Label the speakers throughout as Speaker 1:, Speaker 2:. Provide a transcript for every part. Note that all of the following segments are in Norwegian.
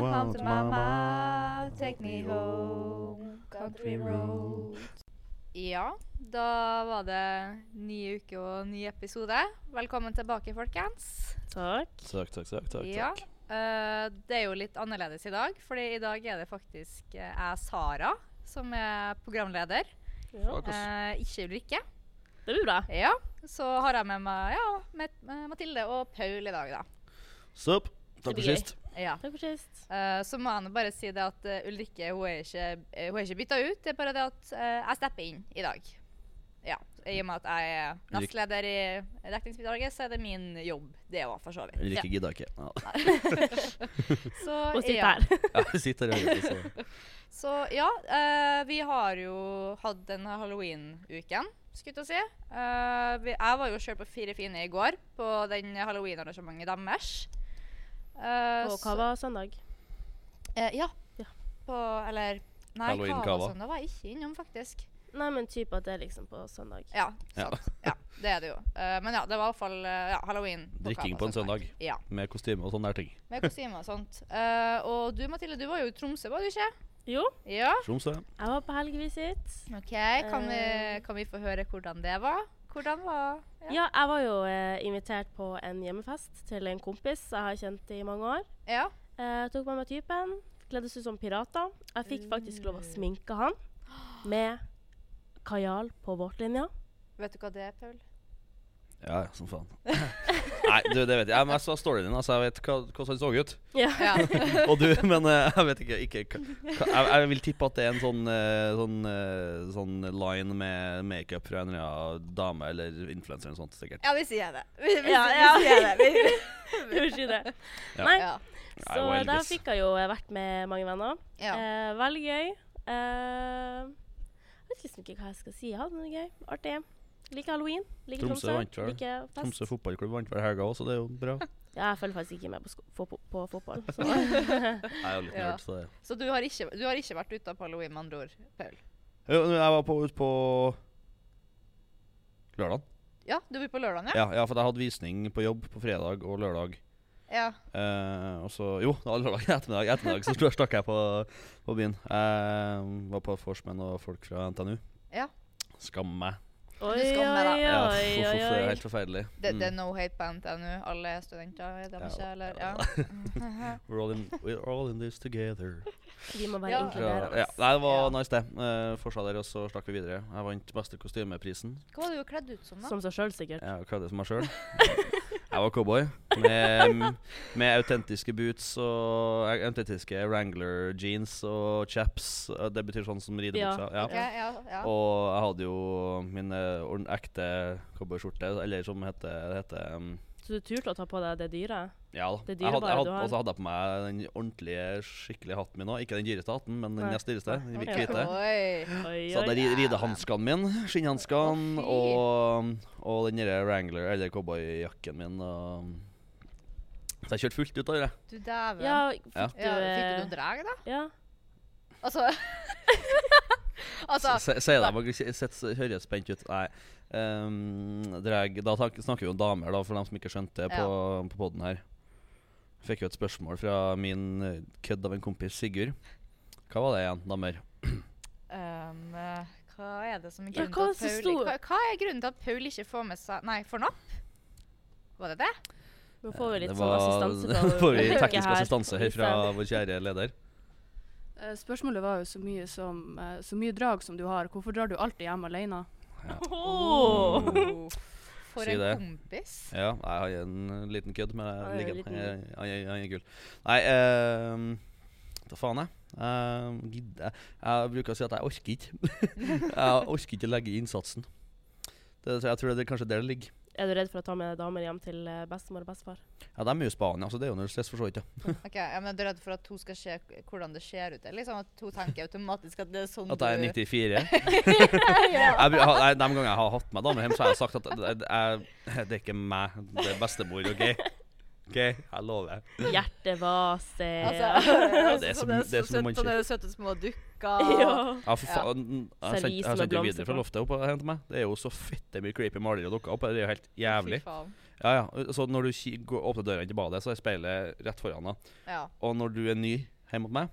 Speaker 1: Welcome to mama, take me home, country road. Ja, da var det ny uke og ny episode. Velkommen tilbake, folkens.
Speaker 2: Takk.
Speaker 3: Takk, takk, takk. takk,
Speaker 1: Ja,
Speaker 3: takk.
Speaker 1: eh, det er jo litt annerledes i dag, fordi i dag er det faktisk eh, jeg, Sara, som er programleder.
Speaker 2: Ja.
Speaker 3: Fuck oss.
Speaker 1: Eh, ikke Ulrikke.
Speaker 2: Det blir bra.
Speaker 1: Ja, så har jeg med meg ja, Mat- eh, Mathilde og Paul i dag, da.
Speaker 3: Sup. Takk for
Speaker 2: blir gøy.
Speaker 3: sist.
Speaker 1: Ja.
Speaker 2: Takk for sist.
Speaker 1: Eh, så må jeg nå bare si det at eh, Ulrikke hun er ikke, eh, hun er ikke bytta ut. Det er bare det at eh, jeg stepper inn i dag. Ja, I og med at jeg er
Speaker 3: Ulrik-
Speaker 1: nestleder i dekningsbidraget, så er det min jobb, det òg, for så vidt.
Speaker 3: Ulrikke gidda ikke. Ja.
Speaker 1: Så,
Speaker 2: Og sitt
Speaker 1: ja.
Speaker 2: her.
Speaker 3: Ja, vi sitter her og så
Speaker 1: Så ja, eh, vi har jo hatt den her halloween-uken, skulle jeg til å si. Eh, vi, jeg var jo sjøl på Fire fine i går, på den halloween-arrangementet deres. Eh,
Speaker 2: Og hva
Speaker 1: så-
Speaker 2: var søndag?
Speaker 1: Eh, ja.
Speaker 2: Ja.
Speaker 1: På Eller Nei,
Speaker 3: Halloween
Speaker 1: Kava
Speaker 3: Kava.
Speaker 1: Søndag var jeg ikke innom, faktisk.
Speaker 2: Nei, men typ at det er liksom på søndag.
Speaker 1: Ja,
Speaker 3: Ja.
Speaker 1: sant. Ja, det er det jo. Eh, men ja, det var iallfall uh, ja, halloween.
Speaker 3: Drikking
Speaker 1: Kava
Speaker 3: på en søndag.
Speaker 1: Ja.
Speaker 3: med kostyme og sånne der ting.
Speaker 1: Med kostyme og sånt. Eh, og du, Mathilde, du var jo i Tromsø, var du ikke?
Speaker 2: Jo,
Speaker 1: Ja.
Speaker 3: Tromsø.
Speaker 2: jeg var på helgevisit.
Speaker 1: OK, kan vi,
Speaker 2: Eh.
Speaker 1: kan vi få høre hvordan det var? Hvordan var
Speaker 2: Ja, jeg var jo eh, invitert på en hjemmefest til en kompis jeg har kjent i mange år.
Speaker 1: ja.
Speaker 2: Eh, tok med meg typen. Kledde oss ut som pirater. Jeg fikk faktisk lov å sminke han med kajal på vårtlinja.
Speaker 1: Vet du hva det er, Paul?
Speaker 3: Ja, ja, som faen. Nei, du, det vet jeg. Men jeg så storyen din, altså. Jeg vet hva- hvordan han så ut.
Speaker 2: Ja.
Speaker 1: Ja.
Speaker 3: Og du, men eh, jeg vet ikke, ikke hva- hva- jeg, jeg vil tippe at det er en sånn, eh, sånn, eh, sånn line med makeup fra en eller annen dame eller influenser eller noe sånt, sikkert.
Speaker 1: ja, vi sier det. Vi, vi,
Speaker 2: Ja,
Speaker 1: vi
Speaker 2: ja.
Speaker 1: sier det. Vi,
Speaker 2: Du vil si det.
Speaker 3: Ja.
Speaker 2: Nei,
Speaker 1: ja.
Speaker 3: Nei,
Speaker 2: så
Speaker 3: og
Speaker 2: der
Speaker 3: Elvis.
Speaker 2: fikk jeg jo eh, vært med mange venner.
Speaker 1: ja.
Speaker 2: Eh, veldig gøy. Eh, jeg vet liksom ikke hva jeg skal si. Jeg hadde det gøy. Artig. Liker halloween. Liker
Speaker 3: Tromsø
Speaker 2: Tromsø.
Speaker 3: vant vel?
Speaker 2: Liker fest.
Speaker 3: Tromsø fotballklubb vant hver helga òg, så det er jo bra.
Speaker 2: Ja, jeg følger faktisk ikke med på, sko fo- på, på fotball. Så.
Speaker 3: Jeg er jo litt
Speaker 1: Ja.
Speaker 3: nerd, så det
Speaker 1: Så du har, ikke, du har ikke vært ute på halloween, med andre ord, Paul?
Speaker 3: Jo, men jeg var på, ut på lørdag.
Speaker 1: Ja, du var ute på lørdagen, ja?
Speaker 3: Ja, ja, for jeg hadde visning på jobb på fredag og lørdag.
Speaker 1: Ja.
Speaker 3: Eh, og så, Jo, det var lørdag ettermiddag. ettermiddag så skulle jeg- stakk jeg på, på byen. Jeg var på et vors med noen folk fra NTNU.
Speaker 1: Ja.
Speaker 3: Skammer meg.
Speaker 2: Oi,
Speaker 1: Du skal med, da.
Speaker 2: oi,
Speaker 3: Ja,
Speaker 2: oi,
Speaker 3: uff, uff,
Speaker 2: oi,
Speaker 3: det er
Speaker 2: oi.
Speaker 3: helt forferdelig.
Speaker 1: Det, det er
Speaker 3: Mm.
Speaker 1: no hate på NTNU? Alle er studenter, er de
Speaker 3: Ja,
Speaker 1: ikke? Eller? Ja.
Speaker 3: We're, all in, we're all in this together.
Speaker 2: Vi må være
Speaker 1: Ja.
Speaker 3: Ja,
Speaker 2: inkluderende.
Speaker 3: ja. Nei, det var
Speaker 1: Ja.
Speaker 3: nice, det. Uh, Forsa der, og så stakk vi videre. Jeg vant beste kostymeprisen.
Speaker 1: Hva var du kledd ut som, da?
Speaker 2: Som seg sjøl, sikkert.
Speaker 3: Jeg kledd som meg sjøl. Jeg var cowboy med, med autentiske boots og eh, autentiske Wrangler jeans og chaps. Eh, Det betyr sånn som ridebuksa.
Speaker 2: Ja,
Speaker 3: Ja.
Speaker 1: Ok, ja, ja.
Speaker 3: Og jeg hadde jo min eh, ordn- ekte cowboyskjorte, eller som heter, heter um,
Speaker 2: Så du turte å ta på deg det dyret?
Speaker 3: Ja da.
Speaker 2: Det
Speaker 3: Jeg hadde, jeg
Speaker 2: dyrebare du
Speaker 3: hadde,
Speaker 2: har.
Speaker 3: og så hadde jeg på meg den ordentlige, skikkelige hatten min òg. Ikke den dyreste hatten, men den
Speaker 2: Nei.
Speaker 3: nest dyreste. den
Speaker 2: Ok.
Speaker 3: Hvite.
Speaker 1: Oi.
Speaker 2: Oi,
Speaker 3: Så hadde
Speaker 2: oi.
Speaker 3: jeg ri- ridehanskene mine, skinnhanskene,
Speaker 1: Å,
Speaker 3: og, og den derre Wrangler, eller cowboyjakken min. Og så jeg kjørte fullt ut av det.
Speaker 1: Du dæven.
Speaker 2: Ja,
Speaker 1: Ja.
Speaker 2: fikk
Speaker 3: Ja.
Speaker 2: du
Speaker 1: fikk du
Speaker 2: eh,
Speaker 1: noe drag, da?
Speaker 2: Ja.
Speaker 1: Altså Altså,
Speaker 3: Se- Se deg, jeg s- s- høres spent ut. Nei. ehm, drag, da tak- snakker vi om damer, da, for dem som ikke skjønte det på, på poden her. Fikk jo et spørsmål fra min eh, kødd av en kompis, Sigurd. Hva var det igjen, damer?
Speaker 1: ehm, eh, hva er det som er
Speaker 2: Ja,
Speaker 1: grunnen
Speaker 2: hva
Speaker 1: til
Speaker 2: er det
Speaker 1: at
Speaker 2: som
Speaker 1: Paul
Speaker 2: sto-
Speaker 1: hva, hva er grunnen til at Paul ikke får med seg Nei, får napp? Var det det?
Speaker 2: Nå får vi litt
Speaker 3: det
Speaker 2: sånn assistanse fra
Speaker 3: Nå får vi
Speaker 2: Ulrikke
Speaker 3: teknisk
Speaker 2: her. sånn.
Speaker 3: assistanse her fra vår kjære leder.
Speaker 4: Eh, Spørsmålet var jo så mye, som, eh, så mye drag som du har. Hvorfor drar du alltid hjem alene?
Speaker 2: Åh.
Speaker 3: Mm.
Speaker 1: Oh, For
Speaker 3: Si
Speaker 1: en
Speaker 3: det.
Speaker 1: kompis.
Speaker 3: Ja, nei, han er en liten kødd, men
Speaker 2: Han er
Speaker 3: jeg liker han.
Speaker 2: en liten
Speaker 3: Han er- han er- han er gull. Nei, ehm, da faen jeg. Ehm, gidder jeg. Jeg bruker å si at jeg orker ikke. jeg orker ikke legge i innsatsen. Det, jeg tror det er kanskje der det ligger.
Speaker 2: Er du redd for å ta med damer hjem til eh, bestemor og bestefar?
Speaker 3: Ja, De er jo i Spania, så det er jo null stress, for så vidt. ja.
Speaker 1: Ok, ja, men Du er redd for at hun skal se k- hvordan det ser ut? eller Liksom At hun tenker automatisk at det er sånn
Speaker 3: At jeg er
Speaker 1: du-
Speaker 3: 94. jeg, bru- ha- nei, de gangene jeg har hatt med damer hjem, så har jeg sagt at jeg, jeg, det er ikke meg, det er bestemor, OK? OK, jeg lover.
Speaker 2: Hjertevase.
Speaker 1: Altså,
Speaker 3: det er som-
Speaker 1: sånne,
Speaker 3: det er som
Speaker 1: søt-
Speaker 3: man ikke-
Speaker 1: sånne sånn søte små dukker.
Speaker 2: ja.
Speaker 3: Ja, for
Speaker 1: Ja.
Speaker 3: faen. Jeg sendte-
Speaker 2: Servise med
Speaker 3: Jeg sendte jo
Speaker 2: blomster
Speaker 3: videre fra
Speaker 2: på.
Speaker 3: loftet opp og hentet meg. Det er jo så fette mye creepy malerier og dukker opp. Det er jo helt jævlig.
Speaker 1: Fy faen.
Speaker 3: Ja, ja. Så når du ki- går- åpner døra inn til badet, så er speilet rett foran deg.
Speaker 1: Ja.
Speaker 3: Og når du er ny hjemme mot meg,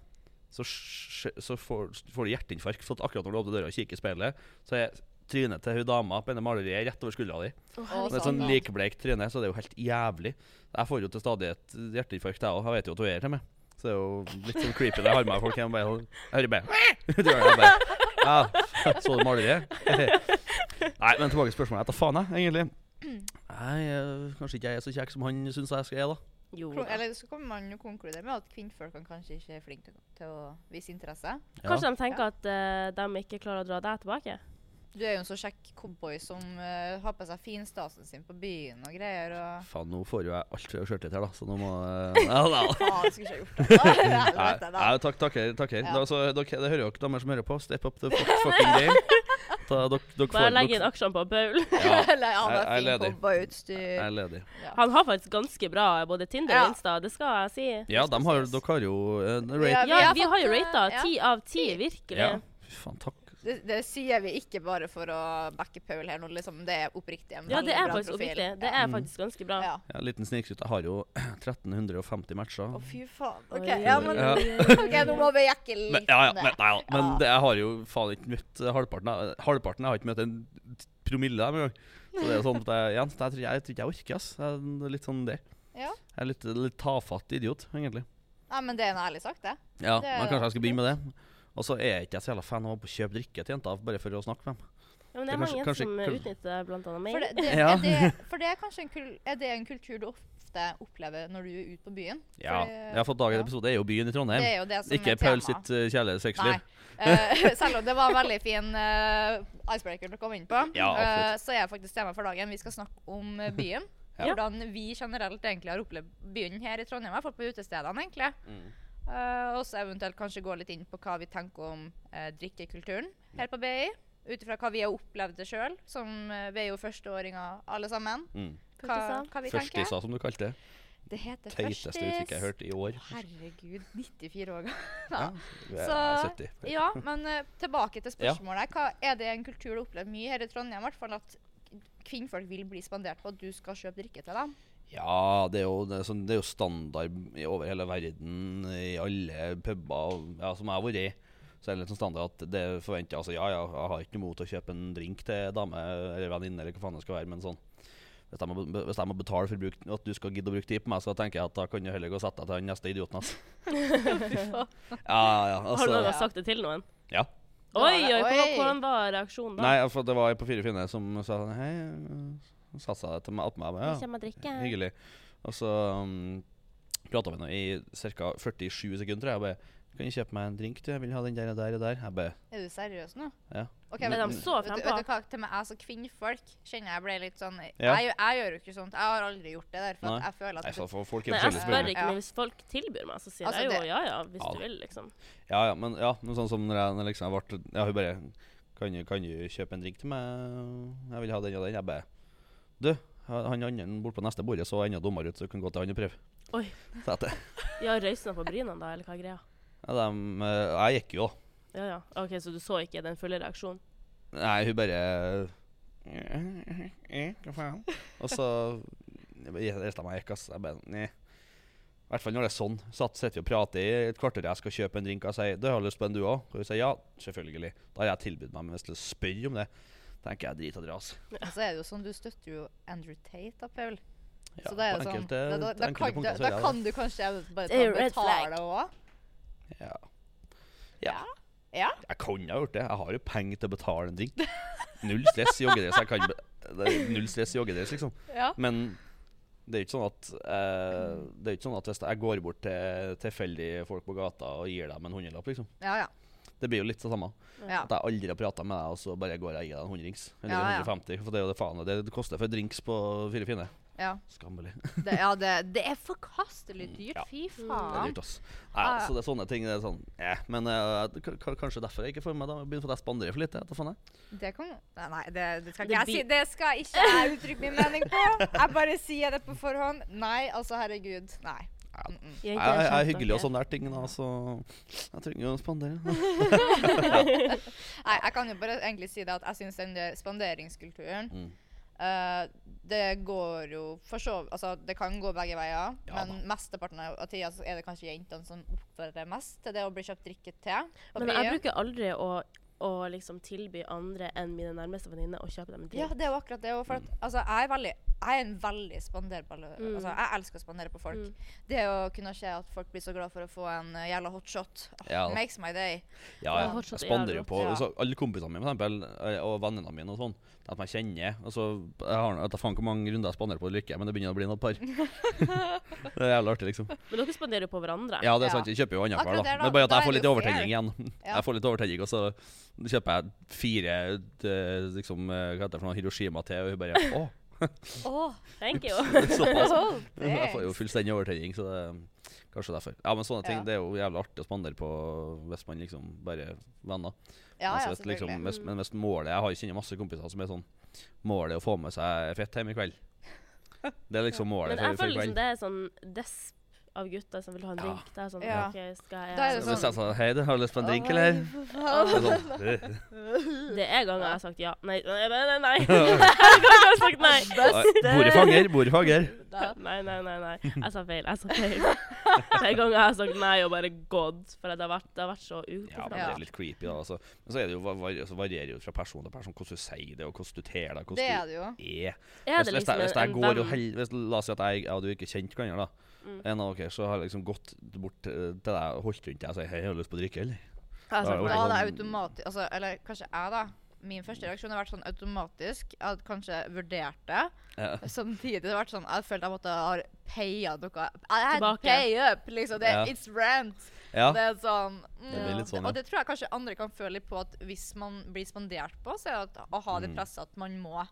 Speaker 3: så, sj- så får, får du hjerteinfarkt. For at akkurat når du åpner døra og kikker i speilet, så er trynet til hun dama på denne maleriet rett over skuldra di.
Speaker 1: Og
Speaker 3: Med
Speaker 1: sånn,
Speaker 3: sånn likbleikt tryne, så det er jo helt jævlig. Jeg får jo til stadighet hjerteinfarkt, jeg òg. Jeg vet jo at hun er til meg. Så det er jo litt sånn creepy når jeg har med meg folk hjem. og bare- Jeg hører bare Du hører det bare ja, Så du maleriet? Nei, men tilbake til spørsmålet. Jeg tar faen, jeg, egentlig. Nei, eh, kanskje ikke jeg er så kjekk som han syns jeg skal er, da.
Speaker 2: Jo.
Speaker 1: Klo- Eller så kan man jo konkludere med at kvinnfolkene kanskje ikke er flinke til, til å vise interesse.
Speaker 3: Ja.
Speaker 2: Kanskje de tenker at eh, de ikke klarer å dra deg tilbake?
Speaker 1: Du er jo en så kjekk cowboy som eh, har på seg finstasen sin på byen og greier. og...
Speaker 3: Faen, nå får jo jeg alt fra skjørtet her, da, så nå må jeg ja, da.
Speaker 1: Faen, skulle ikke ha gjort det. da.
Speaker 3: Nei,
Speaker 1: Helvete, da.
Speaker 3: nei, takk, takker. takker.
Speaker 1: Ja.
Speaker 3: Da, så, dere, det hører jo dere damer som hører på. Step up the fuck- fucking game. Da, dere, dere
Speaker 2: Bare
Speaker 3: får,
Speaker 2: legg inn
Speaker 3: dere,
Speaker 2: aksjene på Paul.
Speaker 3: ja,
Speaker 1: Eller ja,
Speaker 3: Jeg-
Speaker 1: med
Speaker 3: jeg er
Speaker 1: fint
Speaker 3: ledig. jeg
Speaker 1: cowboyutstyr.
Speaker 3: er ledig.
Speaker 2: Han har faktisk ganske bra eh, både Tinder
Speaker 1: Ja.
Speaker 2: og Insta, det skal jeg si.
Speaker 3: Ja, dem har, dere har jo eh, rate.
Speaker 1: Ja, vi
Speaker 2: Ja,
Speaker 1: har
Speaker 2: vi har jo
Speaker 1: fått, eh,
Speaker 2: rata
Speaker 1: ja.
Speaker 2: ti av ti, virkelig.
Speaker 3: Ja. Fy faen, takk.
Speaker 1: Det, det sier vi ikke bare for å backe Paul her nå, liksom. Det er oppriktig. en
Speaker 2: Ja, det
Speaker 1: veldig
Speaker 2: er
Speaker 1: bra
Speaker 2: faktisk
Speaker 1: profil.
Speaker 2: oppriktig. Det er faktisk ganske bra.
Speaker 1: Ja.
Speaker 3: Ja, liten snikskryt. Jeg har jo 1350 matcher.
Speaker 1: Å, fy faen. OK,
Speaker 2: Oi,
Speaker 1: ja,
Speaker 2: oi,
Speaker 1: men
Speaker 3: Ja.
Speaker 1: OK, nå må vi jekke litt
Speaker 3: Men, ja, ja,
Speaker 1: ned.
Speaker 3: men, nei, da. men
Speaker 1: Ja.
Speaker 3: det, jeg har jo faen ikke møtt eh, halvparten. av- Halvparten jeg har ikke møtt en t- promille av dem engang. Så det er sånn at jeg, igjen, jeg, tror- jeg tror ikke jeg orker, ass. Jeg er litt sånn der.
Speaker 1: Ja.
Speaker 3: Jeg er litt, litt tafatt idiot, egentlig.
Speaker 1: Nei, men det er en ærlig sak, det.
Speaker 3: Ja,
Speaker 1: Det er
Speaker 3: men
Speaker 1: det.
Speaker 3: kanskje jeg skal begynne med det. Og så er jeg ikke så jævla fan av å kjøpe drikke til jenter bare for å snakke med dem.
Speaker 2: Ja,
Speaker 3: Det
Speaker 2: men det er
Speaker 3: er
Speaker 2: mange
Speaker 3: kanskje-
Speaker 2: som eh,
Speaker 3: kanskje-
Speaker 2: utnytter blant annet
Speaker 1: For
Speaker 2: meg.
Speaker 1: det, det,
Speaker 3: Ja.
Speaker 1: er, det, for det er kanskje en, kul, er det en kultur du ofte opplever når du er ute på byen.
Speaker 3: Ja,
Speaker 1: For det-
Speaker 3: jeg har fått dagens
Speaker 1: ja.
Speaker 3: episode, er jo byen i Trondheim.
Speaker 1: Det er jo det som
Speaker 3: Ikke
Speaker 1: er
Speaker 3: Paul
Speaker 1: tema.
Speaker 3: sitt uh, kjærlige
Speaker 1: Nei.
Speaker 3: sexliv.
Speaker 1: Eh, selv om det var en veldig fin eh, icebreaker å komme inn på,
Speaker 3: Ja, absolutt.
Speaker 1: eh, så er faktisk tema for dagen. Vi skal snakke om eh, byen.
Speaker 3: Ja.
Speaker 1: Hvordan vi generelt egentlig har opplevd byen her i Trondheim, i hvert fall på utestedene. egentlig.
Speaker 3: Mm.
Speaker 1: Eh, og så eventuelt kanskje gå litt inn på hva vi tenker om eh, drikkekulturen her på BI. Ut ifra hva vi har opplevd det sjøl, som eh, vi er jo førsteåringer alle sammen.
Speaker 3: Mm.
Speaker 1: Hva,
Speaker 2: Førstisa.
Speaker 1: hva vi tenker.
Speaker 3: Førstisa, som du kalte det.
Speaker 1: Det heter
Speaker 3: Teiteste uttrykket jeg har hørt i år.
Speaker 1: Herregud, 94 år gammel.
Speaker 3: Ja,
Speaker 1: Ja.
Speaker 3: jeg er
Speaker 1: Så-
Speaker 3: 70.
Speaker 1: Ja, men eh, tilbake til
Speaker 3: Ja.
Speaker 1: spørsmålet. Hva er det en kultur du har opplevd mye her i Trondheim? I hvert fall at kvinnfolk vil bli spandert på at du skal kjøpe drikke til dem.
Speaker 3: Ja, det er, jo, det, er sånn, det er jo standard i- over hele verden, i alle puber og- ja, som jeg har vært i. Så er det litt sånn standard at det er forventa altså, Ja, ja, jeg har ikke noe imot å kjøpe en drink til dame eller venninne, eller hva faen det skal være, men sånn Hvis jeg må, be- hvis jeg må betale for å bruke, at du skal gidde å bruke tid på meg, så tenker jeg at da kan du heller gå og sette deg til den neste idioten, altså. Ja, ja,
Speaker 2: Har du noen
Speaker 3: altså.
Speaker 2: gang sagt det til noen?
Speaker 3: Ja.
Speaker 2: Oi, oi,
Speaker 1: Oi.
Speaker 2: hvordan- hvordan var reaksjonen da?
Speaker 3: Nei, for det var ei på Fire fine som sa sånn Hei, øh, satsa jeg til meg attmed meg? Ja.
Speaker 2: Nå kommer jeg drikke.
Speaker 3: Hyggelig. Og så um, prata vi nå i ca. 47 sekunder. tror Jeg og bare Kan du kjøpe meg en drink, du? Jeg vil ha den der og der og der. Jeg bare
Speaker 1: Er du seriøs nå?
Speaker 3: Ja.
Speaker 1: Ok,
Speaker 3: Men
Speaker 1: vet-
Speaker 3: de
Speaker 2: så
Speaker 1: vet du-
Speaker 2: frempå.
Speaker 1: Vet du hva, til meg som kvinnfolk kjenner jeg ble litt sånn
Speaker 3: Ja.
Speaker 1: jeg, jeg gjør jo ikke sånt. Jeg har aldri gjort det der, for
Speaker 3: Nei.
Speaker 1: at jeg føler
Speaker 3: Nei,
Speaker 1: at
Speaker 3: faen, for folk er
Speaker 2: Nei, altså, jeg
Speaker 3: forskjellige,
Speaker 2: spør
Speaker 3: selvfølgelig.
Speaker 2: ikke,
Speaker 1: Ja.
Speaker 2: men hvis folk tilbyr meg, så sier
Speaker 1: Altså,
Speaker 2: jeg jo
Speaker 1: det-
Speaker 2: ja ja, hvis
Speaker 3: Ja.
Speaker 2: du vil, liksom.
Speaker 3: Ja, ja, men ja, men sånn som når jeg, når jeg liksom ble Ja, hun bare kan du, kan du kjøpe en drink til meg? Jeg vil ha den og den. Jeg bare Du, han andre bortpå neste bordet så enda dummere ut, så du kan gå til han og prøve.
Speaker 2: Oi.
Speaker 3: Så jeg,
Speaker 2: Ja, røysen på brynene, da, eller hva er greia?
Speaker 3: ja, dem, eh, jeg gikk jo, da.
Speaker 2: Ja ja. OK, så du så ikke den fulle reaksjonen?
Speaker 3: Nei, hun bare «Eh, Hva faen? Og så reiste jeg meg og gikk, ass. Jeg bare Nei. I hvert fall når det er sånn. Satt, sitter vi og prater i et kvarter, jeg skal kjøpe en drink, og jeg sier 'Du har lyst på en, du òg?' Og hun sier 'Ja, selvfølgelig'. Da har jeg tilbudt meg, men hvis du spør om det, tenker jeg drit og dras.
Speaker 1: Og så er det jo sånn, du støtter jo Andrew Tate, da, Paul.
Speaker 3: Ja,
Speaker 1: så da er
Speaker 3: på
Speaker 1: det sånn,
Speaker 3: enkelte-
Speaker 1: da, da,
Speaker 3: på
Speaker 1: da,
Speaker 3: enkelte
Speaker 1: kan,
Speaker 3: punkter
Speaker 1: da,
Speaker 3: så
Speaker 1: da
Speaker 3: gjør jeg
Speaker 1: kan du kanskje jeg bare
Speaker 2: Det er jo
Speaker 1: ta
Speaker 2: red flag.
Speaker 1: betale òg.
Speaker 3: det. ja. Ja.
Speaker 1: Ja.
Speaker 3: Jeg kunne ha gjort det. Jeg har jo penger til å betale en drink. Null stress i joggedress. Jeg kan be det er null stress i joggedress, liksom.
Speaker 1: Ja.
Speaker 3: Men det er jo ikke sånn at eh, Det er jo ikke sånn at hvis jeg går bort til tilfeldige folk på gata og gir dem en hundrelapp, liksom.
Speaker 1: Ja, ja.
Speaker 3: Det blir jo litt det samme.
Speaker 1: ja.
Speaker 3: At jeg aldri har prata med deg, og så bare går jeg og gir deg en hundrings. Eller
Speaker 1: Ja, ja.
Speaker 3: 150, for det er jo det faen det, det koster for drinks på Fire fine.
Speaker 1: ja.
Speaker 3: Skammelig.
Speaker 1: Det, ja det, det er forkastelig
Speaker 3: Mm,
Speaker 1: dyrt.
Speaker 3: ja.
Speaker 1: Fy
Speaker 3: Det er
Speaker 1: faen.
Speaker 3: dyrt, ass. Nei,
Speaker 1: Ja, ja.
Speaker 3: Så det er sånne ting. Det er sånn, eh. Men eh, k- k- kanskje derfor jeg ikke får med meg det. Begynner for at jeg spanderer for lite. vet du faen jeg.
Speaker 1: Det kan Nei, nei, det, det skal
Speaker 2: Det
Speaker 1: ikke jeg si.
Speaker 2: blir-
Speaker 1: Det skal ikke jeg uttrykke min mening på. Jeg bare sier det på forhånd. Nei, altså, herregud. Nei.
Speaker 3: Ja.
Speaker 1: Mm -mm.
Speaker 3: Jeg, jeg, er hyggelig og sånne der ting, da, så jeg trenger jo å spandere.
Speaker 1: Nei, jeg kan jo bare egentlig si det at jeg syns den der spanderingskulturen
Speaker 3: Mm.
Speaker 1: Eh, det går jo for så Altså, det kan gå begge veier,
Speaker 3: Ja
Speaker 1: men mesteparten av av tida så er det kanskje jentene som oppfordrer mest til det å bli kjøpt drikke til.
Speaker 3: sånn.
Speaker 1: Og
Speaker 2: Men jeg
Speaker 1: blir-
Speaker 2: bruker aldri å, å liksom tilby andre enn mine nærmeste venninner å kjøpe dem en
Speaker 1: Ja,
Speaker 2: drink.
Speaker 1: det er jo akkurat det. og For
Speaker 3: Mm.
Speaker 1: at, altså, jeg, er veldig, jeg er en veldig spanderbar altså, Jeg elsker å spandere på
Speaker 3: Mm.
Speaker 1: folk. Det å kunne se at folk blir så glad for å få en eh, jævla hotshot, oh,
Speaker 3: Ja da.
Speaker 1: makes my day.
Speaker 3: Ja,
Speaker 2: Ja,
Speaker 3: jeg,
Speaker 2: fortsatt
Speaker 3: jeg spanderer
Speaker 2: jævlig
Speaker 3: jo på
Speaker 1: godt.
Speaker 3: så alle kompisene mine for eksempel, eh, og vennene mine og sånn. At jeg kjenner. Og så jeg har jeg vet da faen hvor mange runder jeg spanderer på Lykke, men det begynner å bli noen par. det er jævlig artig, liksom.
Speaker 2: Men dere spanderer jo på hverandre.
Speaker 3: Ja,
Speaker 1: Ja.
Speaker 3: det er sant. Jeg kjøper jo annenhver,
Speaker 1: Akkurat
Speaker 3: da.
Speaker 1: der, da.
Speaker 3: Men bare at
Speaker 1: Da
Speaker 3: jeg
Speaker 1: er det
Speaker 3: får litt
Speaker 1: jo fair.
Speaker 3: overtenning igjen.
Speaker 1: Ja.
Speaker 3: Jeg får litt overtenning, og så kjøper jeg fire eh, liksom, eh, hva heter det for noe, Hiroshima te, og hun bare Å!
Speaker 1: Oh,
Speaker 2: Thank you.
Speaker 3: Såpass. Jeg får jo
Speaker 1: thanks.
Speaker 3: fullstendig overtenning, så det er kanskje derfor. Ja, men sånne ting,
Speaker 1: Ja.
Speaker 3: det er jo jævlig artig å spandere på hvis man liksom bare er venner.
Speaker 1: Ja, ja,
Speaker 3: Altså, at liksom,
Speaker 1: selvfølgelig. Mm.
Speaker 3: hvis, men hvis målet Jeg har kjenner masse kompiser som er sånn Målet er å få med seg fett hjem i kveld. Det er liksom målet
Speaker 2: Men
Speaker 3: for,
Speaker 2: jeg
Speaker 3: for i
Speaker 2: føler liksom
Speaker 3: kveld.
Speaker 2: det er sånn desp av gutter som vil ha en
Speaker 3: Ja.
Speaker 2: drink. Det er sånn
Speaker 1: Ja.
Speaker 2: OK, skal
Speaker 1: Da er det
Speaker 2: jeg
Speaker 1: sånn-
Speaker 3: Hvis jeg sa hei, du har du lyst på en drink, eller? Det er sånn, «Øh,
Speaker 2: Det er ganger jeg har sagt ja. Nei, nei, nei. nei, nei. Jeg har sagt nei.
Speaker 3: nei, Bordet fanger, bordet fanger.
Speaker 2: Nei, nei, nei. nei. Jeg sa feil. Jeg sa feil. Flere ganger jeg har sagt nei og bare gått. For det har vært, det har vært så
Speaker 3: Ja, men
Speaker 2: ukomfortabelt.
Speaker 3: det er litt creepy, da. Altså. Men så, er det jo, var- var- så varierer det jo fra person til person hvordan du sier det, og hvordan du ter deg,
Speaker 1: Det
Speaker 3: hvordan
Speaker 1: er det jo.
Speaker 3: du er.
Speaker 2: Er
Speaker 3: hvis, hvis,
Speaker 2: det liksom
Speaker 3: jeg, hvis jeg
Speaker 2: en
Speaker 3: går og
Speaker 2: venn? Mm.
Speaker 3: held, hvis, La oss si at jeg ja, du er ikke kjent hverandre, da. En av dere så har jeg liksom gått bort eh, til deg og holdt rundt deg og sagt 'Hei, har du lyst på å drikke, eller?' Da er
Speaker 2: Jeg har sagt
Speaker 3: det
Speaker 2: nei.
Speaker 1: Ja, det er
Speaker 3: sånn-
Speaker 1: automatisk altså, Eller kanskje jeg, da. Min første reaksjon har vært sånn automatisk. Jeg hadde kanskje vurdert det.
Speaker 3: Ja.
Speaker 1: Samtidig har det vært sånn Jeg følte jeg måtte ha paya noe. I had
Speaker 2: Tilbake.
Speaker 1: pay up, liksom. Det,
Speaker 3: Ja.
Speaker 1: It's rent.
Speaker 3: Ja.
Speaker 1: Det er sånn, mm,
Speaker 3: Det blir litt sånn,
Speaker 1: Og
Speaker 3: ja.
Speaker 1: det tror jeg kanskje andre kan føle litt på, at hvis man blir spandert på, så er det at, å ha det
Speaker 3: Mm.
Speaker 1: presset at man må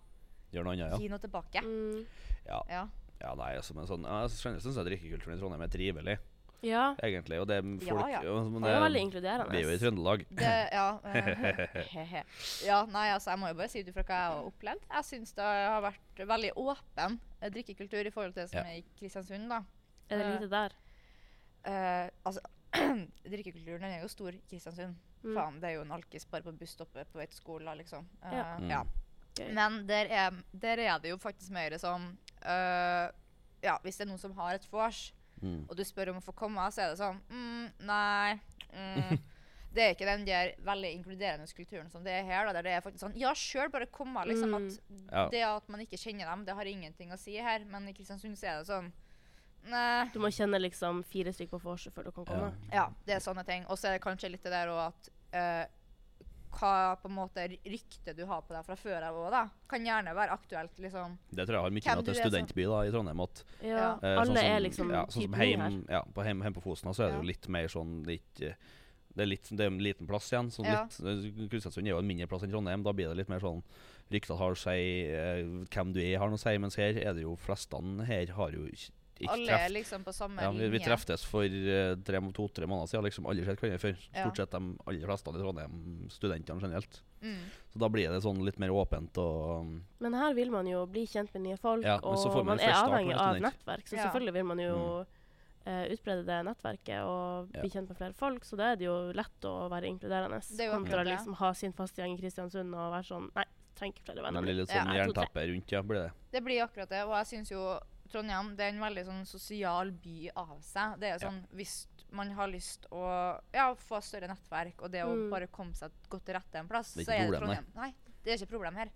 Speaker 3: Gjør noe annet,
Speaker 1: gi noe tilbake.
Speaker 2: Mm.
Speaker 3: ja. ja.
Speaker 1: Ja.
Speaker 3: Ja, nei, altså, men sånn, ja, jeg skjønner- synes jeg drikkekulturen i Trondheim er trivelig,
Speaker 2: Ja.
Speaker 3: egentlig. Og det er
Speaker 1: Ja,
Speaker 3: folk
Speaker 1: ja.
Speaker 3: men
Speaker 2: Det er veldig
Speaker 3: det,
Speaker 2: inkluderende.
Speaker 3: vi er eh, jo i Trøndelag.
Speaker 1: Det, ja, eh, ja. Nei, altså, jeg må jo bare si ut ifra hva jeg har opplevd. Jeg syns det har vært veldig åpen eh, drikkekultur i forhold til det som
Speaker 3: Ja.
Speaker 1: er i Kristiansund, da.
Speaker 2: Er det lite der?
Speaker 1: Eh, altså, drikkekulturen den er jo stor i Kristiansund.
Speaker 2: Mm.
Speaker 1: Faen, det er jo en alkis bare på busstoppet på vei til skolen, liksom. Eh,
Speaker 2: Ja.
Speaker 3: Mm.
Speaker 1: ja.
Speaker 2: Gøy.
Speaker 1: Men der er, der er det jo faktisk mer som eh, Ja, hvis det er noen som har et vors,
Speaker 3: Mm.
Speaker 1: og du spør om å få komme, så er det sånn mm, Nei. Mm. Det er ikke den der veldig inkluderende kulturen som det er her. Da, der det er faktisk sånn Ja, sjøl, bare kom, da, liksom.
Speaker 2: Mm.
Speaker 1: At
Speaker 3: Ja.
Speaker 1: det at man ikke kjenner dem, det har ingenting å si her. Men i Kristiansund så er det sånn Nei.
Speaker 2: Du må kjenne liksom fire stykker på vorset før du kan komme.
Speaker 1: Ja, det er sånne ting. Og så er det kanskje litt det der òg at eh, hva på en måte ryktet du har på deg fra før av òg, da, kan gjerne være aktuelt, liksom.
Speaker 3: Det tror jeg har mye
Speaker 1: Hvem
Speaker 3: med at det
Speaker 1: du
Speaker 3: er
Speaker 1: er som-
Speaker 3: studentby da, i Trondheim. At,
Speaker 2: Ja.
Speaker 1: Ja.
Speaker 3: eh,
Speaker 2: Alle
Speaker 3: sånn som-
Speaker 2: er liksom
Speaker 3: ja, sånn som
Speaker 2: typen
Speaker 3: heim,
Speaker 2: min her.
Speaker 3: Ja, på heim, heim på Fosna så er det jo litt mer sånn det er ikke- det er, litt, det er en liten plass igjen. Sånn
Speaker 1: Ja.
Speaker 3: litt, Kristiansund er jo en mindre plass enn Trondheim. Da blir det litt mer sånn rykter har å si, eh, hvem du er har noe å si. Mens her er det jo flestene her har jo ikke, ikke
Speaker 1: Alle er
Speaker 3: treff.
Speaker 1: liksom på samme
Speaker 3: Ja, vi,
Speaker 1: linje.
Speaker 3: vi treftes for eh, tre, to-tre måneder siden. Liksom aldri sett hverandre før.
Speaker 1: Ja.
Speaker 3: Stort sett de aller fleste i Trondheim, studentene generelt.
Speaker 1: Mm.
Speaker 3: Så da blir det sånn litt mer åpent og um,
Speaker 2: Men her vil man jo bli kjent med nye folk,
Speaker 3: Ja, men så får
Speaker 2: og
Speaker 3: man
Speaker 2: man
Speaker 3: jo
Speaker 2: er
Speaker 3: først start når
Speaker 2: avhengig
Speaker 3: man er
Speaker 2: av
Speaker 3: student.
Speaker 2: nettverk. Så
Speaker 1: Ja.
Speaker 2: selvfølgelig vil man jo eh, utbrede det nettverket og
Speaker 3: Mm. Ja.
Speaker 2: bli kjent med flere folk, så da er det jo lett å være inkluderende.
Speaker 1: Det er jo
Speaker 2: Kontra
Speaker 1: akkurat det.
Speaker 2: liksom ha sin faste gjeng i Kristiansund og være sånn Nei, trenger ikke flere
Speaker 3: Det
Speaker 2: venner.
Speaker 3: blir litt
Speaker 1: Ja,
Speaker 3: sånn
Speaker 2: jeg tror det.
Speaker 3: jernteppe rundt, ja. blir det.
Speaker 1: Det blir akkurat det. Og jeg syns jo Trondheim det er en veldig sånn sosial by av seg. Det er jo sånn hvis man har lyst å ja, få større nettverk, og det å
Speaker 2: Mm.
Speaker 1: bare komme seg godt til rette en plass,
Speaker 3: Det er
Speaker 1: så
Speaker 3: ikke
Speaker 1: er det
Speaker 3: problem, nei.
Speaker 1: Trondheim. Nei, det er ikke et problem her.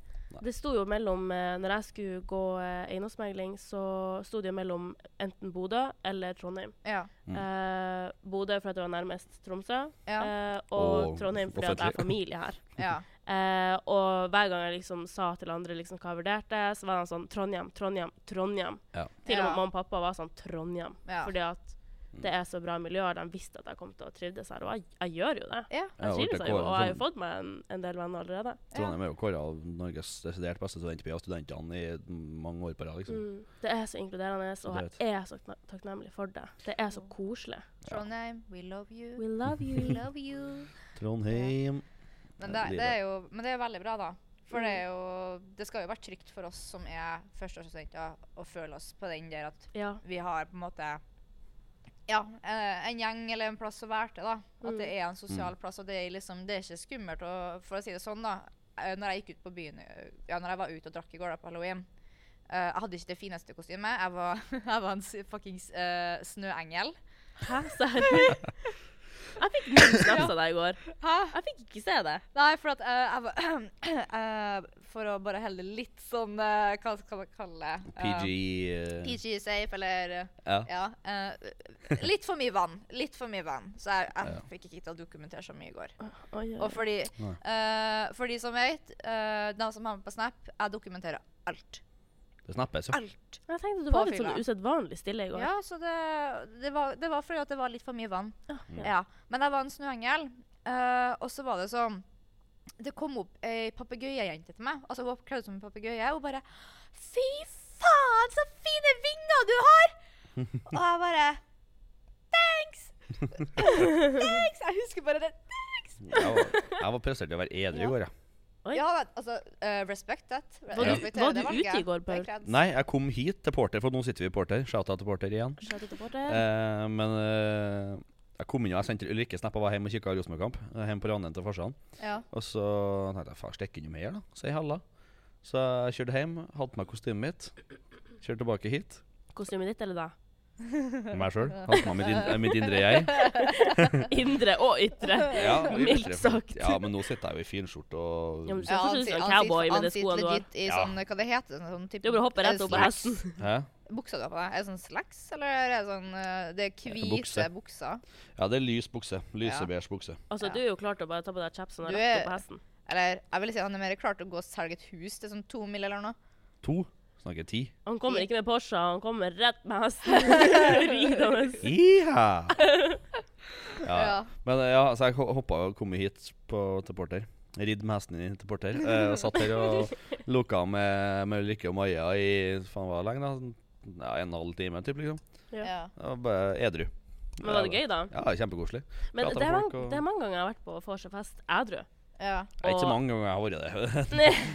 Speaker 2: Det sto jo mellom eh, Når jeg skulle gå eh, eiendomsmegling, så sto det jo mellom enten Bodø eller Trondheim.
Speaker 1: Ja.
Speaker 3: Mm.
Speaker 2: Eh, Bodø fordi det var nærmest Tromsø,
Speaker 1: Ja.
Speaker 2: eh, og
Speaker 3: Og
Speaker 2: Trondheim fordi at jeg er
Speaker 3: offentlig.
Speaker 2: familie her.
Speaker 1: ja.
Speaker 2: Eh, og hver gang jeg liksom sa til andre liksom hva jeg vurderte, så var han sånn Trondheim, Trondheim, Trondheim.
Speaker 3: Ja.
Speaker 2: Til og
Speaker 1: Ja.
Speaker 2: med mamma og pappa var sånn Trondheim.
Speaker 1: Ja.
Speaker 2: Fordi at det er så bra miljø, og de visste at jeg kom til å trivdes her. Og jeg, jeg gjør jo det.
Speaker 1: ja.
Speaker 3: Ja,
Speaker 2: Jeg trives
Speaker 3: ble
Speaker 2: her jo,
Speaker 3: kåret
Speaker 2: og jeg har jo
Speaker 3: som-
Speaker 2: fått meg en, en del venner allerede.
Speaker 3: Trondheim er jo kåra av Norges desidert beste studentby av studentene i mange år på rad. liksom.
Speaker 2: Mm. Det er så inkluderende, og
Speaker 3: Det vet.
Speaker 2: jeg er så kna- takknemlig for det. Det er så koselig.
Speaker 1: Trondheim, we love you.
Speaker 2: We love
Speaker 1: We
Speaker 2: you.
Speaker 1: love you.
Speaker 3: Trondheim
Speaker 1: Men det,
Speaker 3: Ja, det blir
Speaker 1: det
Speaker 3: det.
Speaker 1: er jo, men det er veldig bra, da. For det, er jo, det skal jo være trygt for oss som er førsteårsstudenter, å føle oss på den der at
Speaker 2: ja.
Speaker 1: vi har på en måte ja, eh, en gjeng eller en plass å være til. da. At det er en sosial plass. og Det er liksom, det er ikke skummelt. å- for å si det sånn, da. eh, når jeg gikk ut på byen eh, Ja, når jeg var ute og drakk i går da, på halloween eh, Jeg hadde ikke det fineste kostymet. Jeg var, jeg var en s- fuckings eh, snøengel.
Speaker 2: Hæ, serr? Jeg fikk null snaps av deg i går.
Speaker 1: Hæ?
Speaker 2: Jeg fikk ikke se det.
Speaker 1: Nei, for at eh, jeg var eh, For å bare helle litt sånn eh, Hva skal man kalle det? Eh,
Speaker 3: PG eh,
Speaker 1: PG safe, eller eh,
Speaker 3: Ja.
Speaker 1: Ja. eh, litt for mye vann. Litt for mye vann. Så jeg, jeg
Speaker 3: Ja.
Speaker 1: fikk ikke til å dokumentere så mye i går.
Speaker 2: Oi, oi,
Speaker 1: Og
Speaker 2: oi.
Speaker 1: fordi,
Speaker 3: Nei.
Speaker 1: eh, for de som vet, eh, de som har meg på Snap, jeg dokumenterer alt.
Speaker 3: Det snappes, jo.
Speaker 1: Alt.
Speaker 2: Jeg tenkte du var litt
Speaker 1: Påfylla.
Speaker 2: sånn usedvanlig stille i går.
Speaker 1: Ja, så det, det, var, det var fordi at det var litt for mye vann.
Speaker 2: Ah,
Speaker 1: Ja. Men jeg var en snøengel, eh, og så var det sånn Det kom opp ei papegøyejente til meg. Altså, hun var kledd som en papegøye. Og bare Fy faen, så fine vinger du har! og jeg bare Thanks! Thanks! Jeg husker bare det.
Speaker 3: Jeg var, jeg var prestert til å være edru i går, jeg.
Speaker 2: Oi.
Speaker 1: Ja, men, altså, eh, respect that. Re-
Speaker 2: Var du-
Speaker 1: respektere
Speaker 2: var
Speaker 1: det
Speaker 2: du
Speaker 1: valget.
Speaker 2: ute i går,
Speaker 1: Det
Speaker 2: Paul?
Speaker 1: kreds.
Speaker 3: Nei, jeg kom hit til Porter, for nå sitter vi i Porter. Shout-out til Porter igjen.
Speaker 2: Shout out til Porter.
Speaker 3: Eh, men eh, jeg kom inn og jeg sendte Ulrikke snap og var hjemme og kikka Rosenborg-kamp. eh, Hjemme på Ranheim til farsan.
Speaker 1: Ja.
Speaker 3: Og så tenkte jeg faen, stikk innom her, da. Si halla. Så jeg kjørte hjem, hadde på meg kostymet mitt. Kjørte tilbake hit.
Speaker 2: Kostymet ditt eller da?
Speaker 3: Meg sjøl. Hadde på meg mitt, in mitt indre jeg.
Speaker 2: Indre og ytre.
Speaker 3: Ja, og
Speaker 2: Mildt
Speaker 3: ytre-
Speaker 2: sagt.
Speaker 3: Ja, men nå sitter jeg jo i finskjorte og
Speaker 2: Ja, men så
Speaker 1: Ja,
Speaker 2: kanskje
Speaker 1: han
Speaker 2: du
Speaker 1: sier-
Speaker 2: skal
Speaker 1: han
Speaker 2: være
Speaker 1: sier-
Speaker 2: cowboy med
Speaker 1: han
Speaker 2: de
Speaker 1: sitter
Speaker 2: skoene du har.
Speaker 1: legit i
Speaker 3: Ja.
Speaker 1: sånn, hva det heter det? Sånn type
Speaker 2: Du bare hopper rett opp på
Speaker 1: slacks.
Speaker 2: hesten.
Speaker 3: Hæ?
Speaker 1: Buksa du har på deg? Er det sånn slacks, eller er det sånn eh, Det er hvite
Speaker 3: Bukse.
Speaker 1: bukser?
Speaker 3: Ja, det er lys bukse. Lysebeige bukse.
Speaker 2: Altså,
Speaker 1: Ja.
Speaker 2: du er jo klar til å bare ta på deg chapsen og
Speaker 1: Du
Speaker 2: rett
Speaker 1: er-
Speaker 2: opp på hesten.
Speaker 1: Eller jeg vil si han er mer klar til å gå og selge et hus til sånn to mil eller noe.
Speaker 3: To. Snakker ti.
Speaker 2: Han kommer ikke med Porsche, han kommer rett med hesten. Ridende.
Speaker 3: Iha!
Speaker 1: Ja.
Speaker 3: Ja. Men eh, ja, så jeg ho- hoppa og kom hit på, til Porter. Ridd med hesten din til Porter. Eh, og satt her og loka med, med Lykke og Maja i faen hva lenge, da? Sånn, Ja, en og en halv time, typ, liksom.
Speaker 2: Ja.
Speaker 1: Ja.
Speaker 3: Og bare edru.
Speaker 2: Men var det gøy, da?
Speaker 3: Ja, kjempekoselig.
Speaker 2: Men
Speaker 3: Prater
Speaker 2: det er,
Speaker 3: med folk
Speaker 2: mange,
Speaker 3: og-
Speaker 2: det er mange ganger jeg har vært på vorset-fest ædru.
Speaker 1: ja.
Speaker 3: Det er ikke så
Speaker 2: Og-
Speaker 3: mange ganger jeg har vært det.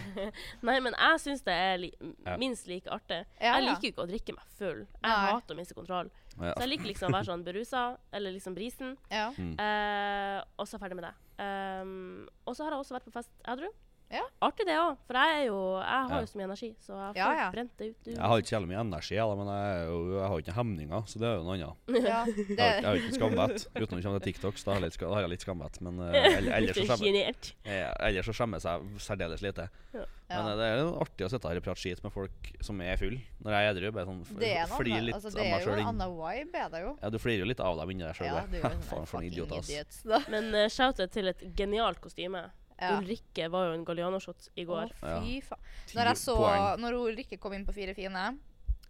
Speaker 2: Nei, men jeg syns det er li
Speaker 3: Ja.
Speaker 2: minst like artig.
Speaker 1: Ja,
Speaker 2: Jeg
Speaker 1: ja.
Speaker 2: liker ikke å drikke meg full. Jeg
Speaker 1: Nei.
Speaker 2: hater å miste kontroll. Så
Speaker 3: Ja.
Speaker 2: jeg liker liksom å være sånn berusa, eller liksom brisen,
Speaker 1: ja.
Speaker 2: eh, og så ferdig med det. Um, og så har jeg også vært på fest ædru.
Speaker 1: Ja.
Speaker 2: Artig det òg, for jeg, er jo, jeg
Speaker 3: Ja.
Speaker 2: har jo så mye energi, så jeg får
Speaker 1: Ja, ja.
Speaker 2: brent det ut. ut.
Speaker 3: Jeg har ikke så jævlig mye energi, jeg, da, men jeg, er jo- jeg har ikke noen hemninger, så det er jo noe
Speaker 1: ja.
Speaker 3: annet. Jeg har, jeg
Speaker 1: Det,
Speaker 3: har ikke skamvett. Utenom det kommer til TikToks, da har jeg litt, ska- da har jeg litt skamvett. Men eh, ell- ellers så
Speaker 2: Litt
Speaker 3: skjemmer
Speaker 2: sjenert.
Speaker 3: eh, ellers så skjemmer jeg seg særdeles lite. Men eh,
Speaker 1: ja.
Speaker 3: det er jo artig å sitte her og prate skit med folk som er full når jeg er edru. Bare sånn f-
Speaker 1: det er noe
Speaker 3: flir
Speaker 1: annet.
Speaker 3: litt
Speaker 1: Altså, det
Speaker 3: av meg
Speaker 1: er jo
Speaker 3: sjøl
Speaker 1: en
Speaker 3: inn.
Speaker 1: annen vibe, er det jo.
Speaker 3: Ja, du flirer jo litt av deg inni deg sjøl.
Speaker 1: Ja, du er jo en
Speaker 3: Faen, for en
Speaker 1: fucking
Speaker 3: idiot, ass.
Speaker 1: idiot. da.
Speaker 2: Men uh, shout-out til et genialt kostyme.
Speaker 1: Ja.
Speaker 2: Ulrikke var jo en Galliano-shot i går.
Speaker 1: Å, fy faen.
Speaker 3: Ti
Speaker 1: Når jeg så
Speaker 3: poeng.
Speaker 1: Når hun Ulrikke kom inn på Fire fine,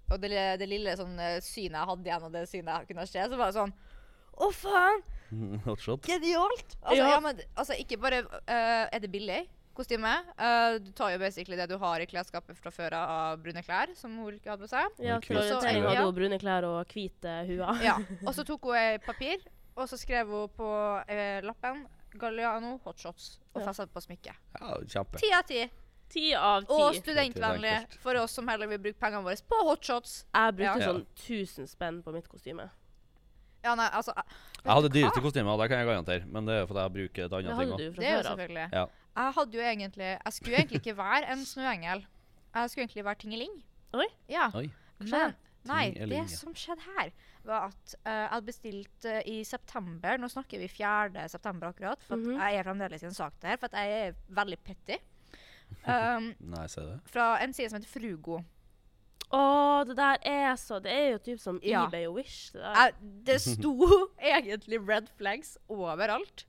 Speaker 1: og det, li- det lille sånn, eh, synet jeg hadde igjen, og det synet jeg kunne se, så var det sånn Å, faen!
Speaker 3: Hotshot.
Speaker 1: Genialt! Altså,
Speaker 2: Ja.
Speaker 1: ja. men, altså ikke bare eh, Er det billig kostyme? Eh, du tar jo basically det du har i klesskapet fra før av av brune klær, som hun ikke hadde på seg.
Speaker 2: Ja,
Speaker 3: Oi,
Speaker 2: til
Speaker 3: kult.
Speaker 2: orientering
Speaker 1: Så-
Speaker 2: hadde
Speaker 1: ja.
Speaker 2: hun brune klær og hvite huer.
Speaker 1: Ja. Og så tok hun ei papir, og så skrev hun på eh, lappen Galliano hotshots og
Speaker 2: Ja.
Speaker 1: festet på smykket.
Speaker 3: Ja, kjempe.
Speaker 1: Ti av ti.
Speaker 2: Ti av
Speaker 1: Og
Speaker 2: ti.
Speaker 1: studentvennlig
Speaker 3: Enkelt.
Speaker 1: for oss som heller vil bruke pengene våre på hotshots.
Speaker 2: Jeg brukte
Speaker 3: Ja.
Speaker 2: sånn 1000 spenn på mitt kostyme.
Speaker 1: Ja, nei, altså eh,
Speaker 3: Jeg hadde
Speaker 1: vet du hva?
Speaker 3: dyreste kostyme, og det kan jeg garantere, men det er jo fordi jeg bruker et
Speaker 2: Det
Speaker 3: annet ting
Speaker 2: hadde
Speaker 3: òg.
Speaker 2: du
Speaker 1: Det
Speaker 2: fra
Speaker 1: er jo
Speaker 2: før av.
Speaker 1: selvfølgelig.
Speaker 3: Ja.
Speaker 1: Jeg hadde jo egentlig Jeg skulle egentlig ikke være en snøengel. Jeg skulle egentlig være Tingeling.
Speaker 2: Oi.
Speaker 1: Ja.
Speaker 3: Oi.
Speaker 1: Men, nei,
Speaker 3: Ting
Speaker 1: det
Speaker 3: eller ingen?
Speaker 1: som skjedde her, var at eh, jeg hadde bestilt eh, i september Nå snakker vi 4. september akkurat, for at
Speaker 2: Mhm.
Speaker 1: jeg er fremdeles i en sak der. For at jeg er veldig petty. Um,
Speaker 3: Nei, se det.
Speaker 1: fra en side som heter Frugo.
Speaker 2: Å, det der er så Det er jo typ som
Speaker 1: Ja.
Speaker 2: eBay og Wish. Det der.
Speaker 1: Jeg, det sto egentlig red flags overalt.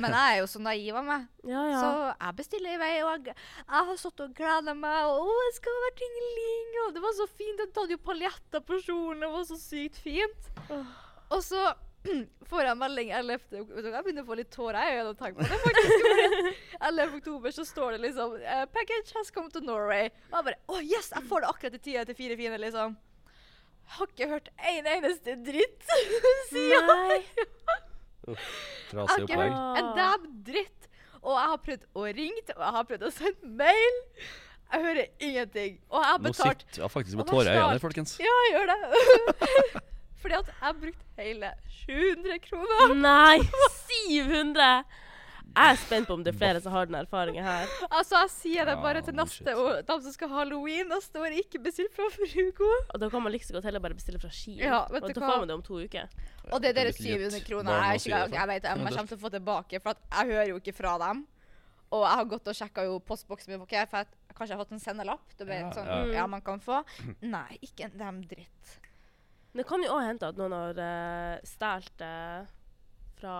Speaker 1: Men jeg er jo så naiv av meg.
Speaker 2: Ja, ja.
Speaker 1: Så jeg bestiller i vei, og jeg, jeg har satt og gleda meg. Og å, jeg skal være tingeling, og det var så fint. Jeg hadde jo paljetter på kjolen, det var så sykt fint. Og så får jeg en melding 11. oktober. Jeg begynner å få litt tårer jeg, av å tenke på det. faktisk. fordi 11. oktober så står det liksom eh, 'Package has come to Norway'. Og jeg bare Å, yes! Jeg får det akkurat i tida til fire fine, liksom. Har ikke hørt en eneste dritt siden.
Speaker 2: Nei.
Speaker 3: Trasig
Speaker 1: Jeg har ikke
Speaker 3: opplegg.
Speaker 2: opplegg.
Speaker 1: hørt en dæv dritt. Og jeg har prøvd å ringe, og jeg har prøvd å sende mail. Jeg hører ingenting. Og jeg har
Speaker 3: Nå
Speaker 1: betalt.
Speaker 3: sitter jeg faktisk med
Speaker 1: Og vær
Speaker 3: tårer i øynene,
Speaker 1: snart.
Speaker 3: folkens.
Speaker 1: Ja, jeg gjør det. Fordi at jeg brukte hele 700 kroner.
Speaker 2: Nei! 700! Jeg er spent på om det er flere som har den erfaringen her.
Speaker 1: Altså, jeg sier det bare
Speaker 3: Ja,
Speaker 1: til
Speaker 3: men
Speaker 1: neste
Speaker 3: shit.
Speaker 1: år. De som skal ha halloween neste år, ikke bestill fra Frugo.
Speaker 2: Og da kan man like så godt heller bare bestille fra Ski.
Speaker 1: Ja, vet
Speaker 2: og
Speaker 1: du
Speaker 2: da
Speaker 1: hva?
Speaker 2: får man det om to uker.
Speaker 1: Og det er
Speaker 3: Jeg
Speaker 1: deres
Speaker 3: vet ikke
Speaker 1: 700 kroner.
Speaker 3: hva
Speaker 1: Jeg,
Speaker 3: man
Speaker 1: er ikke,
Speaker 3: sier
Speaker 1: jeg,
Speaker 3: for.
Speaker 1: jeg vet om jeg kommer til å få tilbake, for at jeg hører jo ikke fra dem. Og jeg har gått og sjekka postboksen min. for hva jeg får- Kanskje jeg har fått en sendelapp? Det ble
Speaker 3: Ja,
Speaker 1: sånn,
Speaker 3: ja. Mm.
Speaker 1: ja, man kan få. Nei, ikke en dem dritt.
Speaker 2: Men det kan jo òg hende at noen har uh, stjålet det fra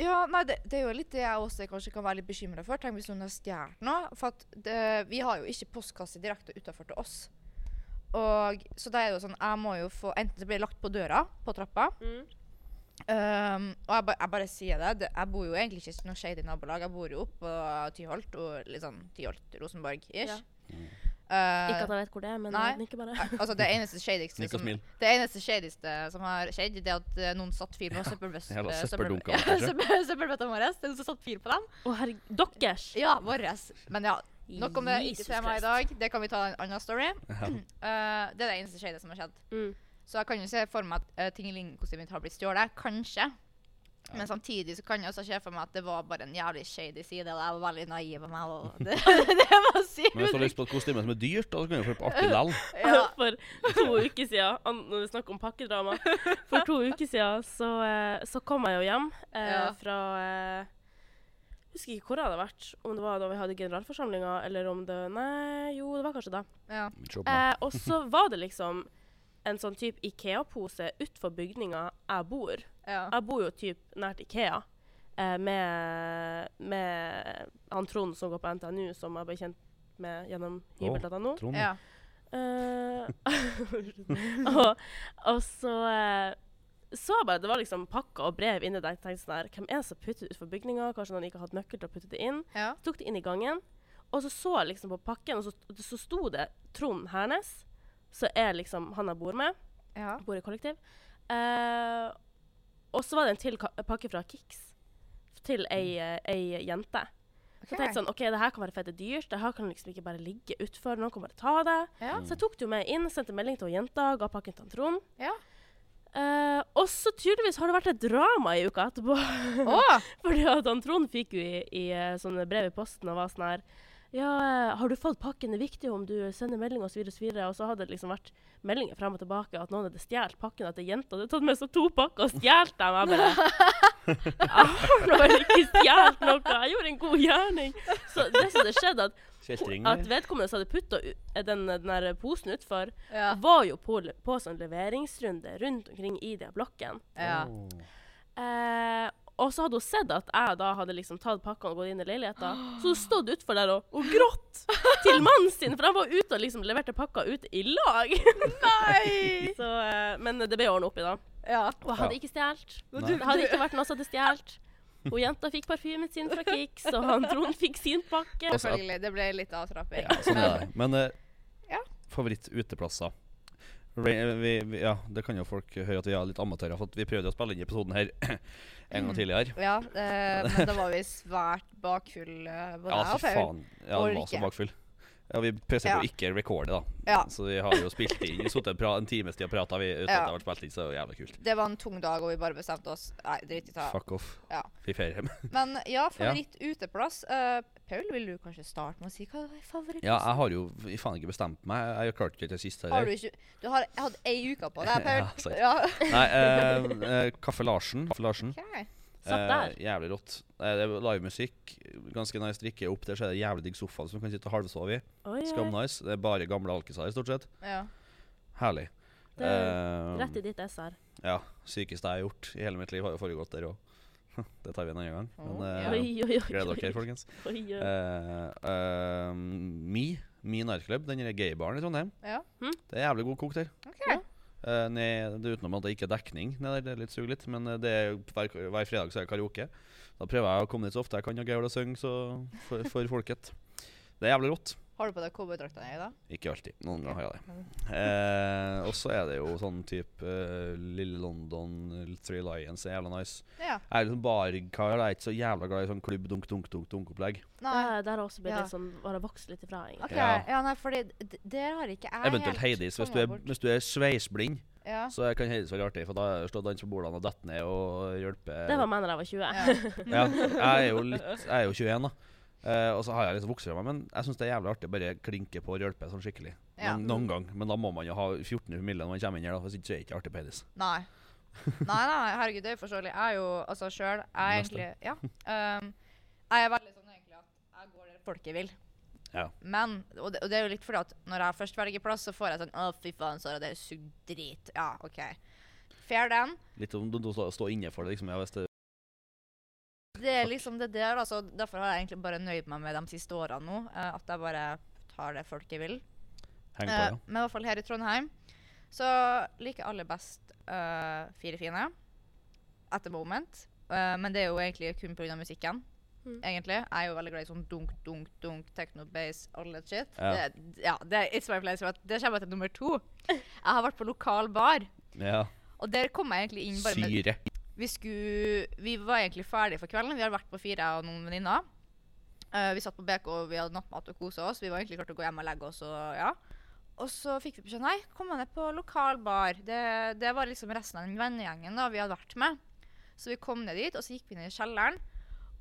Speaker 1: Ja, nei, det, det er jo litt det jeg også kanskje kan være litt bekymra for. Tenk hvis noen har stjålet noe. For at det, vi har jo ikke postkasse direkte utafor til oss. Og, så da er det jo sånn, jeg må jo få Enten det blir lagt på døra på trappa,
Speaker 2: mm.
Speaker 1: Ehm, og jeg, ba, jeg bare sier det. det. Jeg bor jo egentlig ikke i noe shady nabolag. Jeg bor jo oppe på Tyholt, og litt sånn Tyholt-Rosenborg-ish.
Speaker 2: Ja.
Speaker 1: Eh,
Speaker 2: Ikke at jeg vet hvor det er, men
Speaker 1: nei.
Speaker 2: jeg nikker bare.
Speaker 1: eh, altså det eneste shadyste
Speaker 3: Nikk og
Speaker 1: som,
Speaker 3: smil.
Speaker 1: det eneste shadyste som har skjedd, det er at eh, noen satte fyr på søppelbøs-
Speaker 3: Jævla
Speaker 1: eh, søppel-
Speaker 3: søppeldunker,
Speaker 1: Ja,
Speaker 3: kanskje.
Speaker 1: søppel- søppelbøttene våre. Det er noen som satte fyr på dem.
Speaker 2: Å, herregud. Deres!
Speaker 1: Ja, våres. Men ja, nok om det. Ikke se meg i dag. Det kan vi ta i en annen story.
Speaker 3: Ja.
Speaker 1: Eh, det er det eneste shady som har skjedd.
Speaker 2: Mm.
Speaker 1: Så jeg kan jo se for meg at uh, tingeling-kostymet mitt har blitt stjålet. Kanskje. Men samtidig så kan jeg også se for meg at det var bare en jævlig shady side. Og jeg var veldig naiv av meg. Og det, det må jeg si.
Speaker 3: Men hvis du har lyst på et kostyme som er dyrt, da kan du få det på artig lell.
Speaker 1: Ja.
Speaker 2: For to uker siden, an- når vi snakker om pakkedrama For to uker siden så, eh, så kom jeg jo hjem eh,
Speaker 1: Ja.
Speaker 2: fra eh, Jeg husker ikke hvor jeg hadde vært. Om det var da vi hadde generalforsamlinga, eller om det Nei, jo, det var kanskje da.
Speaker 1: Ja.
Speaker 2: Eh, og så var det liksom en sånn type Ikea-pose utenfor bygninga jeg bor.
Speaker 1: Ja.
Speaker 2: Jeg bor jo typ nært Ikea. Eh, med, med han Trond som går på NTNU, som jeg ble kjent med gjennom hybel.no.
Speaker 3: Trond.
Speaker 1: Ja.
Speaker 2: Eh, og, og så eh, så jeg bare at det var liksom pakker og brev inni der. Jeg tenkte sånn her, Hvem er det som putter det utfor bygninga? Kanskje noen ikke har hatt nøkkel til å putte det inn?
Speaker 1: Ja.
Speaker 2: Så tok det inn i gangen, og så så jeg liksom på pakken, og så, så sto det Trond Hernes, som er liksom han jeg bor med.
Speaker 1: Ja.
Speaker 2: Bor i kollektiv. Eh, og så var det en til ka- pakke fra Kix til ei, eh, ei jente. Så jeg tenkte sånn, ok, det her kan være fette dyrt, det her kan liksom ikke bare ligge utfor, noen kan bare ta det.
Speaker 1: Ja.
Speaker 2: Så jeg tok det jo med inn, sendte melding til hun jenta, ga pakken til han Trond.
Speaker 1: Ja.
Speaker 2: Eh, og så tydeligvis har det vært et drama i uka etterpå.
Speaker 1: Å!
Speaker 2: Fordi at han Trond fikk jo i, i eh, sånne brev i posten og var sånn her Ja, eh, har du fått pakken? Det er viktig om du sender melding osv. Og, så videre, og så hadde det liksom vært meldinger frem og tilbake at noen hadde stjålet pakken, at ei jente hadde tatt med seg to pakker og stjålet dem. Jeg bare Jeg har nå vel ikke stjålet noe! Jeg gjorde en god gjerning! Så det som det skjedde, at,
Speaker 3: Kjeltring.
Speaker 2: at vedkommende som hadde putta den, eh, den der posen utfor,
Speaker 1: Ja.
Speaker 2: var jo på, på sånn leveringsrunde rundt omkring i de blokkene.
Speaker 1: Ja.
Speaker 2: Eh, og så hadde hun sett at jeg da hadde liksom tatt pakkene og gått inn i leiligheten. Så hun stod utfor der og, og grått til mannen sin, for han var ute og liksom leverte pakka ut i lag.
Speaker 1: Nei!
Speaker 2: Så, eh, men det ble ordna opp i, da.
Speaker 1: Ja.
Speaker 2: Og jeg hadde
Speaker 3: Ja.
Speaker 2: ikke stjålet.
Speaker 3: Nei.
Speaker 2: Det hadde ikke vært noen som hadde stjålet. Hun jenta fikk parfymen sin fra Kix, og han Trond fikk sin pakke.
Speaker 3: Altså, at-
Speaker 1: Selvfølgelig. Det ble litt avtrapping.
Speaker 3: Ja, sånn er det. Men eh,
Speaker 1: Ja.
Speaker 3: favorittuteplasser? Ra- Vi, vi, ja, det kan jo folk høre at vi er litt amatører, for at vi prøvde å spille inn episoden her en
Speaker 1: Mm.
Speaker 3: gang tidligere.
Speaker 1: Ja, eh, men da var vi svært bakfulle, eh, både
Speaker 3: Ja,
Speaker 1: jeg og
Speaker 3: fy
Speaker 1: Paul.
Speaker 3: faen. Ja, den var
Speaker 1: Orker.
Speaker 3: så bakfull. Ja, vi presterte
Speaker 1: Ja.
Speaker 3: jo ikke å recorde, da.
Speaker 1: Ja.
Speaker 3: Så vi har jo spilt inn. Vi sittet en times tid og prata uten at det
Speaker 1: Ja.
Speaker 3: har vært spilt inn, så det er jævlig kult.
Speaker 1: Det var en tung dag, og vi bare bestemte oss Nei, drit i det.
Speaker 3: Fuck off.
Speaker 1: Ja.
Speaker 3: Vi feirer hjem.
Speaker 1: Men ja, favoritt uteplass. Eh, Paul, vil du kanskje starte med å si hva er favorittplassen?
Speaker 3: Ja, jeg har jo f- faen ikke bestemt meg. Jeg klarte ikke til sist
Speaker 1: Har
Speaker 3: heller.
Speaker 1: du ikke Du har hatt ei uke på deg,
Speaker 3: Ja,
Speaker 1: Paul.
Speaker 3: sant.
Speaker 1: ja.
Speaker 3: Nei, eh, eh, Kaffe Larsen. Kaffe Larsen.
Speaker 1: Ok.
Speaker 2: Satt der.
Speaker 3: Eh, jævlig rått. Eh, det er livemusikk. Ganske nice drikke opp der, så er det jævlig digg sofa som du kan sitte og halvsove i.
Speaker 2: Oi, oi.
Speaker 3: Skamnice. Det er bare gamle alkiser her, stort sett.
Speaker 1: Ja.
Speaker 3: Herlig.
Speaker 2: Det er
Speaker 3: Eh,
Speaker 2: rett i ditt SR.
Speaker 3: Ja. Sykeste jeg har gjort i hele mitt liv, har jo foregått der òg. Det tar vi en annen gang. Men
Speaker 1: Åh.
Speaker 3: eh,
Speaker 2: Oi, oi, oi.
Speaker 3: gleder dere, folkens.
Speaker 2: Oi, oi.
Speaker 3: Eh, eh, Mi, Mi nightclub, den der gaybaren i Trondheim.
Speaker 1: ja.
Speaker 3: Det er jævlig god kok der.
Speaker 1: OK.
Speaker 2: Ja.
Speaker 3: Eh, ned, det er utenom at det ikke er dekning. Ned der, det er litt sug litt, men eh, det er, jo hver, hver fredag så er det karaoke. Da prøver jeg å komme dit så ofte jeg kan og gaule og synge så for, for folket. Det er jævlig rått.
Speaker 1: Har du på deg cowboydrakta di i dag?
Speaker 3: Ikke alltid. Noen ganger har jeg det. Eh, og så er det jo sånn type eh, Lille London, Three Lions er jævla nice.
Speaker 1: Ja.
Speaker 3: Jeg er litt sånn barkar. Jeg er ikke så jævla glad i sånn klubb-dunk-dunk-dunk-opplegg.
Speaker 1: Nei.
Speaker 2: Der, der har også blitt
Speaker 1: Ja.
Speaker 2: litt sånn, har jeg vokst litt ifra, egentlig.
Speaker 1: OK.
Speaker 3: Eh, Ja.
Speaker 1: Ja, nei, fordi d- der har ikke jeg
Speaker 3: Eventuelt Heidis hvis du, er, hvis du er sveisblind.
Speaker 1: Ja.
Speaker 3: Så jeg kan heldigvis være artig, for da har jeg stått og danset på bordene og datt ned og hjulpet
Speaker 2: Det var meg da jeg var 20.
Speaker 1: ja.
Speaker 3: Ja, jeg er jo litt Jeg er jo 21 da Eh, og så har jeg liksom vokst fra meg Men jeg synes det er jævlig artig å Bare klinke på og hjelpe sånn skikkelig
Speaker 1: Ja.
Speaker 3: Men Noen gang Men da må man jo ha 14 humille Når man kommer inn her da Hvis ikke så er det ikke artig penis
Speaker 1: Nei. Nei, nei, herregud, det er uforståelig. Jeg er jo altså sjøl Jeg er
Speaker 3: Neste.
Speaker 1: egentlig Ja. ehm, jeg er veldig sånn egentlig at jeg går der folket vil.
Speaker 3: Ja.
Speaker 1: Men, og det, og det er jo litt fordi at når jeg først velger plass, så får jeg sånn Å, fy faen, Sara, det suger drit. Ja, OK. Fair den.
Speaker 3: Litt om du, du står står inne for det liksom Ja, hvis det
Speaker 1: Det er
Speaker 3: Takk.
Speaker 1: liksom det der, altså. Derfor har jeg egentlig bare nøyd meg med de siste årene nå. eh, at jeg bare tar det folket vil.
Speaker 3: henger på
Speaker 1: Eh, men i hvert fall her i Trondheim så liker alle best eh, Fire fine at the moment. Eh, men det er jo egentlig kun pga. musikken.
Speaker 2: Mm.
Speaker 1: Egentlig. Jeg er jo veldig glad i sånn dunk, dunk, dunk, techno-base, all that shit.
Speaker 3: Ja.
Speaker 1: Det, ja, det er It's My Place. for at Det kommer jeg til nummer to. Jeg har vært på lokal bar,
Speaker 3: det Ja
Speaker 1: og der kom jeg egentlig inn bare med
Speaker 3: Syre
Speaker 1: vi, skulle, vi var egentlig ferdige for kvelden. Vi hadde vært på fire jeg og noen venninner. Eh, vi satt på BK, og vi hadde nattmat og kosa oss. Vi var egentlig klart til å gå hjem og legge oss. Og, ja. og så fikk vi beskjed nei, kom ned på lokal bar. Det, det var liksom resten av den vennegjengen da vi hadde vært med. Så vi kom ned dit, og så gikk vi ned i kjelleren.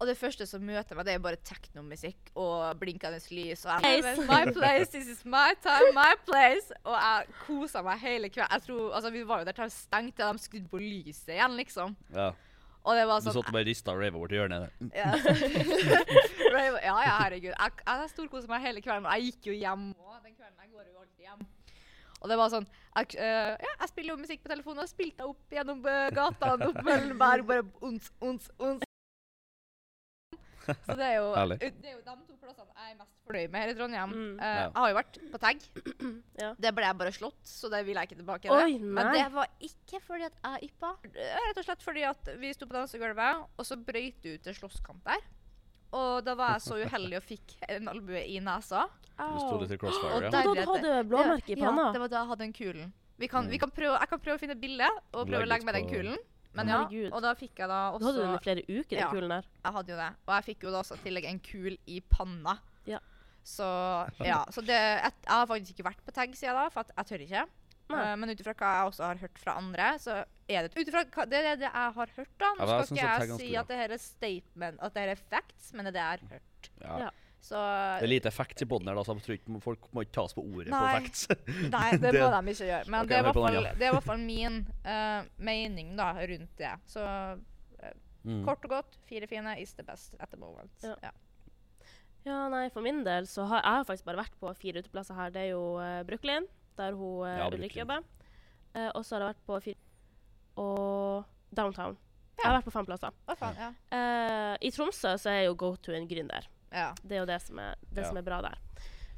Speaker 1: Og det første som møter meg, det er bare teknomusikk og blinkende lys. Og jeg
Speaker 2: Place.
Speaker 1: bare, my place, this is my time, my place. Og jeg kosa meg hele kvelden. Jeg tror, altså, vi var jo der til det stengte, og de skrudde på lyset igjen, liksom.
Speaker 3: Ja
Speaker 1: Og det var
Speaker 3: Du
Speaker 1: sånn
Speaker 3: satt og bare ristet og revet over til hjørnet der.
Speaker 1: ja. Rave- ja, ja, herregud. Jeg, jeg storkoste meg hele kvelden. Og jeg gikk jo hjem òg den kvelden. Jeg går jo alltid hjem. Og det var sånn Jeg, eh, ja, jeg spiller jo musikk på telefonen, og spilte jeg opp gjennom eh, gata og opp Møllenberg. Bare ons, ons, ons. Så det er, jo,
Speaker 3: Herlig.
Speaker 1: det er jo de to plassene jeg er mest fornøyd med her i Trondheim.
Speaker 2: Mm.
Speaker 1: Eh,
Speaker 3: Ja.
Speaker 1: Jeg har jo vært på tag.
Speaker 2: Ja.
Speaker 1: Det ble jeg bare slått, så det vil jeg ikke tilbake til.
Speaker 2: Oi,
Speaker 1: Men
Speaker 2: nei.
Speaker 1: det var ikke fordi at jeg yppa. Det er Rett og slett fordi at vi sto på dansegulvet, og så brøyt det ut en slåsskamp der. Og da var jeg så uheldig og fikk en albue i nesa.
Speaker 3: Du sto litt i
Speaker 1: Og
Speaker 3: crossfire, ja.
Speaker 1: der-
Speaker 2: Og da du hadde blåmerke i panna.
Speaker 1: Ja, det var da jeg hadde den kulen. Vi kan,
Speaker 3: Mm.
Speaker 1: vi kan prøve, jeg kan prøve å finne et bilde og prøve
Speaker 3: Legg
Speaker 1: å legge
Speaker 3: ut
Speaker 1: med den
Speaker 3: på-
Speaker 1: kulen. Men ja,
Speaker 2: Herregud.
Speaker 1: og da fikk jeg da
Speaker 2: Du hadde
Speaker 1: også
Speaker 2: den i flere uker, den
Speaker 1: Ja.
Speaker 2: kulen der.
Speaker 1: Jeg hadde jo det. Og jeg fikk jo da også i tillegg en kul i panna.
Speaker 2: Ja.
Speaker 1: Så ja, så det, jeg, jeg har faktisk ikke vært på tag siden da, for at jeg tør ikke.
Speaker 2: Nei.
Speaker 1: Eh, men ut ifra hva jeg også har hørt fra andre, så er det ut ifra hva- det, er det jeg har hørt, da. Nå
Speaker 3: Ja, da
Speaker 1: skal
Speaker 3: synes jeg
Speaker 1: ikke
Speaker 3: tag er
Speaker 1: jeg si
Speaker 3: vanskelig,
Speaker 1: at det her er statement, at det her er facts, men det er det jeg har hørt.
Speaker 3: ja.
Speaker 2: Ja.
Speaker 1: Så
Speaker 3: Det er lite facts i podden her, da, så jeg tror ikke folk må ikke tas på ordet på
Speaker 1: Nei.
Speaker 3: facts.
Speaker 1: Nei, det må de ikke gjøre. Men
Speaker 3: Ok,
Speaker 1: det er i hvert
Speaker 3: hør på den,
Speaker 1: fall-
Speaker 3: ja.
Speaker 1: det er i hvert fall min eh, mening da, rundt det. Så
Speaker 3: Mm.
Speaker 1: kort og godt, fire fine is the best at the moment.
Speaker 2: Ja.
Speaker 1: Ja.
Speaker 2: Ja, nei, for min del så har jeg har faktisk bare vært på fire uteplasser her. Det er jo eh, Brooklyn, der hun eh,
Speaker 3: Ja,
Speaker 2: Ulrik
Speaker 3: Brooklyn.
Speaker 2: jobber. Eh, og så har jeg vært på fire Og downtown. Jeg
Speaker 1: Ja.
Speaker 2: har vært på fem plasser.
Speaker 1: Å, faen, ja.
Speaker 2: Eh, I Tromsø så er jo go-to-en gründer.
Speaker 1: ja.
Speaker 2: Det er jo det som er, det
Speaker 3: Ja.
Speaker 2: som er bra der.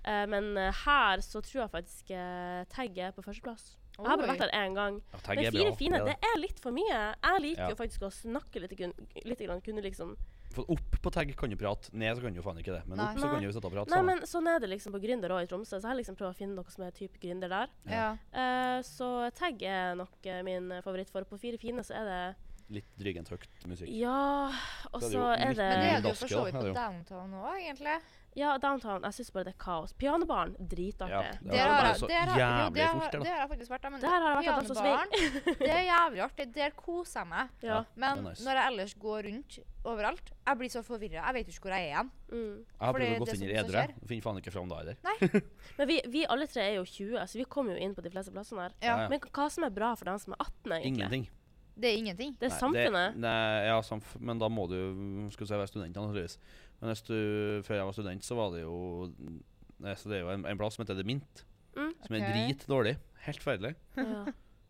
Speaker 2: Eh, men eh, her så tror jeg faktisk uh, Tagg er på førsteplass. Jeg har bare
Speaker 1: Oi.
Speaker 2: vært der én gang.
Speaker 3: Ja, tagg
Speaker 2: Men
Speaker 3: er
Speaker 2: fire
Speaker 3: bra.
Speaker 2: fine,
Speaker 3: Ja,
Speaker 2: det er litt for mye. Jeg liker
Speaker 3: Ja.
Speaker 2: jo faktisk å snakke litt, kun, litt grann, kunne liksom
Speaker 3: For opp på tagg kan du prate, ned så kan du faen ikke det. Men
Speaker 1: Nei.
Speaker 3: opp så
Speaker 2: Nei.
Speaker 3: kan du sitte og prate
Speaker 2: Nei,
Speaker 3: sammen.
Speaker 2: men sånn er det liksom på Gründer òg i Tromsø, så jeg har liksom prøvd å finne noe som er type gründer der.
Speaker 1: Ja.
Speaker 2: Eh, så tag er nok eh, min favoritt, for på Fire fine så er det
Speaker 3: Litt drygent høyt musikk.
Speaker 2: Ja, og
Speaker 3: Så er det
Speaker 2: så
Speaker 3: jo
Speaker 2: er
Speaker 3: litt
Speaker 2: det
Speaker 1: Men det
Speaker 3: Eh,
Speaker 1: er det jo
Speaker 3: ganske,
Speaker 1: for
Speaker 3: da,
Speaker 1: så vidt
Speaker 3: er
Speaker 1: på
Speaker 3: det jo.
Speaker 1: downtown òg, egentlig.
Speaker 2: Ja, downtown. Jeg syns bare det er kaos. Pianobaren, dritartig.
Speaker 3: Ja, det
Speaker 1: Der
Speaker 3: var
Speaker 1: har
Speaker 3: bare
Speaker 1: jeg,
Speaker 3: så
Speaker 1: der har, jo,
Speaker 3: jævlig
Speaker 1: der,
Speaker 3: fort,
Speaker 1: har-
Speaker 3: det da.
Speaker 1: der har jeg faktisk vært. da, Men
Speaker 2: Der har jeg vært og danset
Speaker 1: pianobaren, Det er jævlig artig. Der koser jeg meg.
Speaker 2: Ja.
Speaker 1: Men
Speaker 3: det er nice.
Speaker 1: når jeg ellers går rundt overalt, jeg blir så forvirra. Jeg vet jo ikke hvor jeg er igjen.
Speaker 2: Mm.
Speaker 3: Jeg har
Speaker 1: fordi
Speaker 3: prøvd å gå
Speaker 1: det
Speaker 3: inn
Speaker 1: som-
Speaker 3: i
Speaker 1: som
Speaker 3: edre.
Speaker 1: skjer.
Speaker 3: Finner faen ikke fram da heller.
Speaker 2: Men vi, vi alle tre er jo 20, så vi kommer jo inn på de fleste plassene her.
Speaker 1: Ja.
Speaker 3: Ja, ja.
Speaker 2: Men hva som er bra for dem som er 18, egentlig?
Speaker 3: Ingenting.
Speaker 1: Det er ingenting.
Speaker 2: Det er
Speaker 3: Nei,
Speaker 2: samfunnet.
Speaker 3: Nei, ja, samf men da må du skulle si, være student, naturligvis. Men hvis du, før jeg var student, så var det jo nei, så Det er jo en, en plass som heter The Mint,
Speaker 2: Mm.
Speaker 3: som er
Speaker 1: Ok.
Speaker 3: dritdårlig. Helt forferdelig.
Speaker 2: Ja.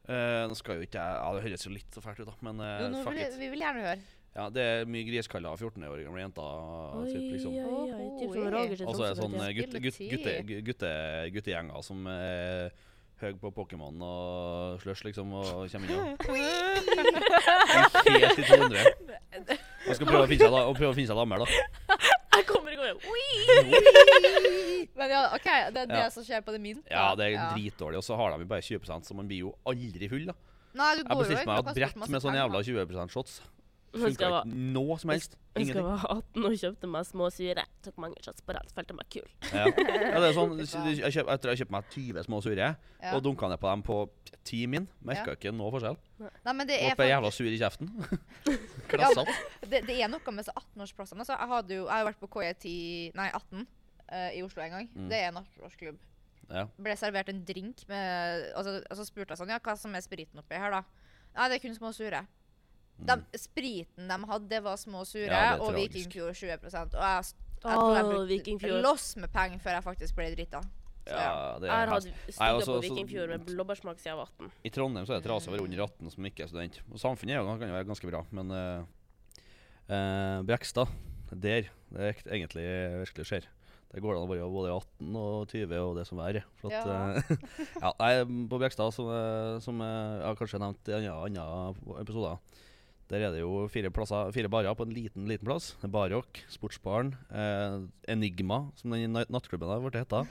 Speaker 3: Eh, nå skal jo ikke jeg ja, Det høres jo litt så fælt ut, da, men eh,
Speaker 1: Jo, nå
Speaker 3: fuck
Speaker 1: vil,
Speaker 3: it.
Speaker 1: vi vil gjerne høre.
Speaker 3: Ja, det er mye griskaller av 14-åringer gamle jenter.
Speaker 2: Oi,
Speaker 3: Typ, liksom.
Speaker 2: oi, oi. Typ som
Speaker 1: Oi.
Speaker 2: Roger til
Speaker 3: Og så er det
Speaker 2: Tromsø,
Speaker 3: sånn
Speaker 2: vet jeg.
Speaker 3: gutte, gutt-
Speaker 1: Spille
Speaker 3: gutte,
Speaker 1: tid.
Speaker 3: gu- gutte, guttegjenger som er høy på Pokémon og slush, liksom, og kommer inn og Er Helt i 200. Og skal prøve å finne seg, da, og prøve å finne seg damer, da. eh,
Speaker 2: Jeg kommer i går, oi!
Speaker 1: Men ja, OK, det er det
Speaker 3: Ja.
Speaker 1: som skjer på det min.
Speaker 3: Ja, det er dritdårlig. Og så har de jo bare 20 så man blir jo aldri full, da.
Speaker 1: Nei, du
Speaker 3: Jeg
Speaker 1: går jo
Speaker 3: bestilte
Speaker 1: ikke
Speaker 3: meg
Speaker 1: og kaster
Speaker 3: et
Speaker 1: bort
Speaker 3: brett
Speaker 1: masse
Speaker 3: med sånn sånne
Speaker 1: penger.
Speaker 3: jævla 20 %-shots.
Speaker 2: Husker
Speaker 3: Funka
Speaker 2: jeg var-
Speaker 3: ikke noe som helst.
Speaker 2: Jeg husker jeg
Speaker 3: Ingenting.
Speaker 2: var 18 og kjøpte meg små syre. Tok mange shots på rad, følte meg kul.
Speaker 3: Ja. ja, det er sånn Jeg, kjøp, jeg tror jeg kjøpte meg 20 små surre
Speaker 1: Ja.
Speaker 3: og dunka ned på dem på ti min. Merka ikke noe forskjell.
Speaker 1: Nei, men det er,
Speaker 3: Ble
Speaker 1: fakt-
Speaker 3: jævla sur i kjeften. Klassete.
Speaker 1: det, det er noe med så 18-årsplassene. Altså, jeg, hadde jo, jeg har jo vært på KJ10 Nei, 18 eh, i Oslo en gang.
Speaker 3: Mm.
Speaker 1: Det er en 18-årsklubb.
Speaker 3: Ja.
Speaker 1: Ble servert en drink med Og så altså, spurte jeg sånn Ja, hva som er spriten oppi her, da? Nei, det er kun små sure. De,
Speaker 3: Mm.
Speaker 1: spriten de hadde, det var små sure,
Speaker 3: Ja, det er
Speaker 1: og
Speaker 3: tragisk.
Speaker 1: Vikingfjord 20 Og jeg, jeg tror jeg
Speaker 2: Åh,
Speaker 1: brukte
Speaker 2: Vikingfjord.
Speaker 1: loss med penger før jeg faktisk ble drita.
Speaker 3: Ja, det
Speaker 2: Jeg har
Speaker 3: er altså,
Speaker 2: hatt
Speaker 3: hest.
Speaker 2: stygge på
Speaker 3: også- så-
Speaker 2: Vikingfjord med blåbærsmak siden jeg var 18.
Speaker 3: I Trondheim så er det trasig å være under 18 som ikke er student. Og samfunnet er jo, kan jo være ganske bra, men eh, eh, Brekstad, der det er ek- egentlig virkelig skjer. Der går det an å være både 18 og 20 og det som verre. For at,
Speaker 1: Ja.
Speaker 3: eh, ja, nei, på Brekstad, som, eh, som eh, jeg har kanskje nevnt i andre, andre episoder, der er det jo fire, plasser, fire barer på en liten liten plass. Det er Barrock, Sportsbaren, eh, Enigma, som den nat- nattklubben har blitt heta.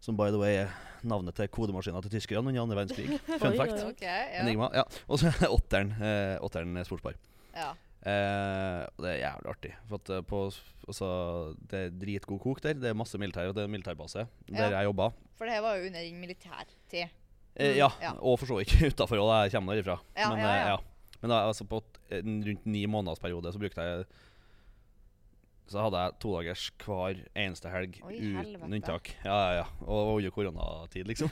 Speaker 3: Som by the way er navnet til kodemaskina til tyskerne under andre verdenskrig. Fun
Speaker 2: Oi,
Speaker 3: fact.
Speaker 2: oi, oi.
Speaker 1: OK. Ja.
Speaker 3: Enigma. Ja. Og så er det åtteren. Eh, åtteren er sportsbar.
Speaker 1: ja.
Speaker 3: Eh, og det er jævlig artig. For at eh, på, altså, det er dritgod kok der. Det er masse militær, og det er en militærbase der
Speaker 1: Ja.
Speaker 3: jeg jobba.
Speaker 1: For det her var jo under militærtid.
Speaker 3: Eh, ja,
Speaker 1: Mm, Ja.
Speaker 3: og for så vidt utafor òg, jeg kommer derifra.
Speaker 1: Ja,
Speaker 3: Men,
Speaker 1: ja,
Speaker 3: eh,
Speaker 1: ja.
Speaker 3: Men da, altså, på t- en rundt ni månedersperiode så brukte jeg Så hadde jeg to dagers hver eneste helg
Speaker 1: Oi,
Speaker 3: uten
Speaker 1: helvete.
Speaker 3: unntak. Ja, ja, ja. Og under koronatid, liksom.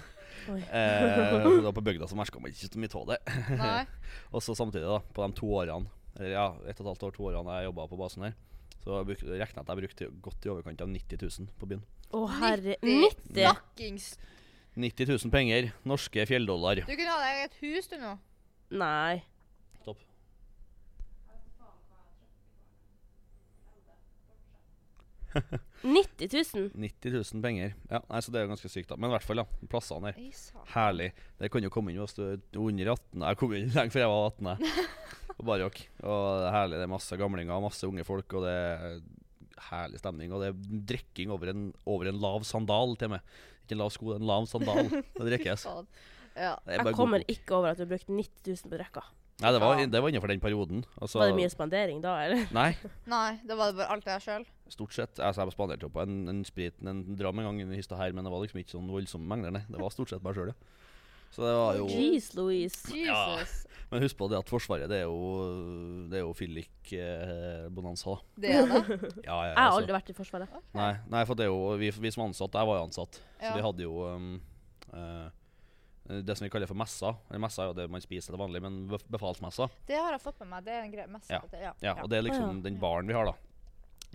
Speaker 2: Oi.
Speaker 3: Eh, da på bygda så merka man ikke så mye av det.
Speaker 1: Nei.
Speaker 3: Og så samtidig, da, på de to årene Eller ja, ett og et halvt år, to årene jeg jobba på basen her, så bruk- regnet jeg at jeg brukte godt i overkant av 90 000 på byen.
Speaker 2: Å, herre
Speaker 1: 90.
Speaker 2: 90!
Speaker 1: Fuckings
Speaker 3: 90 000 penger. Norske fjelldollar.
Speaker 1: Du kunne ha deg et hus, du nå.
Speaker 2: Nei.
Speaker 3: Topp.
Speaker 2: Nei. 90 000?
Speaker 3: 90 000 penger. Ja, nei, så det er jo ganske sykt, da. Men i hvert fall, da. Plassene her.
Speaker 1: Oi, sa-
Speaker 3: Herlig. Det kan jo komme inn hvis du er under 18. Jeg kom inn lenge før jeg var 18. Jeg. Og bare jokk. Og det er herlig. Det er masse gamlinger, masse unge folk, og det er herlig stemning. Og det er drikking over en, over en lav sandal, til og med. Ikke en lav sko, en lav sandal. Det drikkes.
Speaker 1: Faen. Ja.
Speaker 3: Det er bare
Speaker 2: Jeg
Speaker 3: god
Speaker 2: kommer
Speaker 3: kok.
Speaker 2: ikke over at du har brukt 90 000 på drekka.
Speaker 3: Nei, det var,
Speaker 1: Ja.
Speaker 3: det var innenfor den perioden. Altså,
Speaker 2: Var det mye spandering da, eller?
Speaker 3: Nei,
Speaker 1: Nei, da var det bare alt jeg sjøl.
Speaker 3: stort sett. Altså, jeg spanderte jo på en, en sprit, en dram en gang under hista her, men det var liksom ikke sånn voldsomme mengder, nei. Det var stort sett meg sjøl, ja. Så det var jo
Speaker 2: Jeez Louise.
Speaker 3: Ja.
Speaker 1: Jesus.
Speaker 3: Men husk på det at Forsvaret, det er jo Det er jo fyllik-bonanza, da.
Speaker 1: Det er det.
Speaker 3: Ja, ja,
Speaker 2: Jeg har
Speaker 3: altså.
Speaker 2: aldri vært i Forsvaret.
Speaker 3: Nei, nei, for det er jo vi, vi som ansatt, jeg var jo ansatt, så
Speaker 1: Ja.
Speaker 3: vi hadde jo um, eh, det som vi kaller for messer. Eller messer er jo det man spiser til vanlig, men bef- befalsmesser.
Speaker 1: Det har jeg fått med meg. Det er en greie mest
Speaker 3: Ja.
Speaker 1: Ja.
Speaker 3: Ja,
Speaker 1: ja.
Speaker 3: og det er liksom
Speaker 2: ja.
Speaker 3: den baren vi har, da.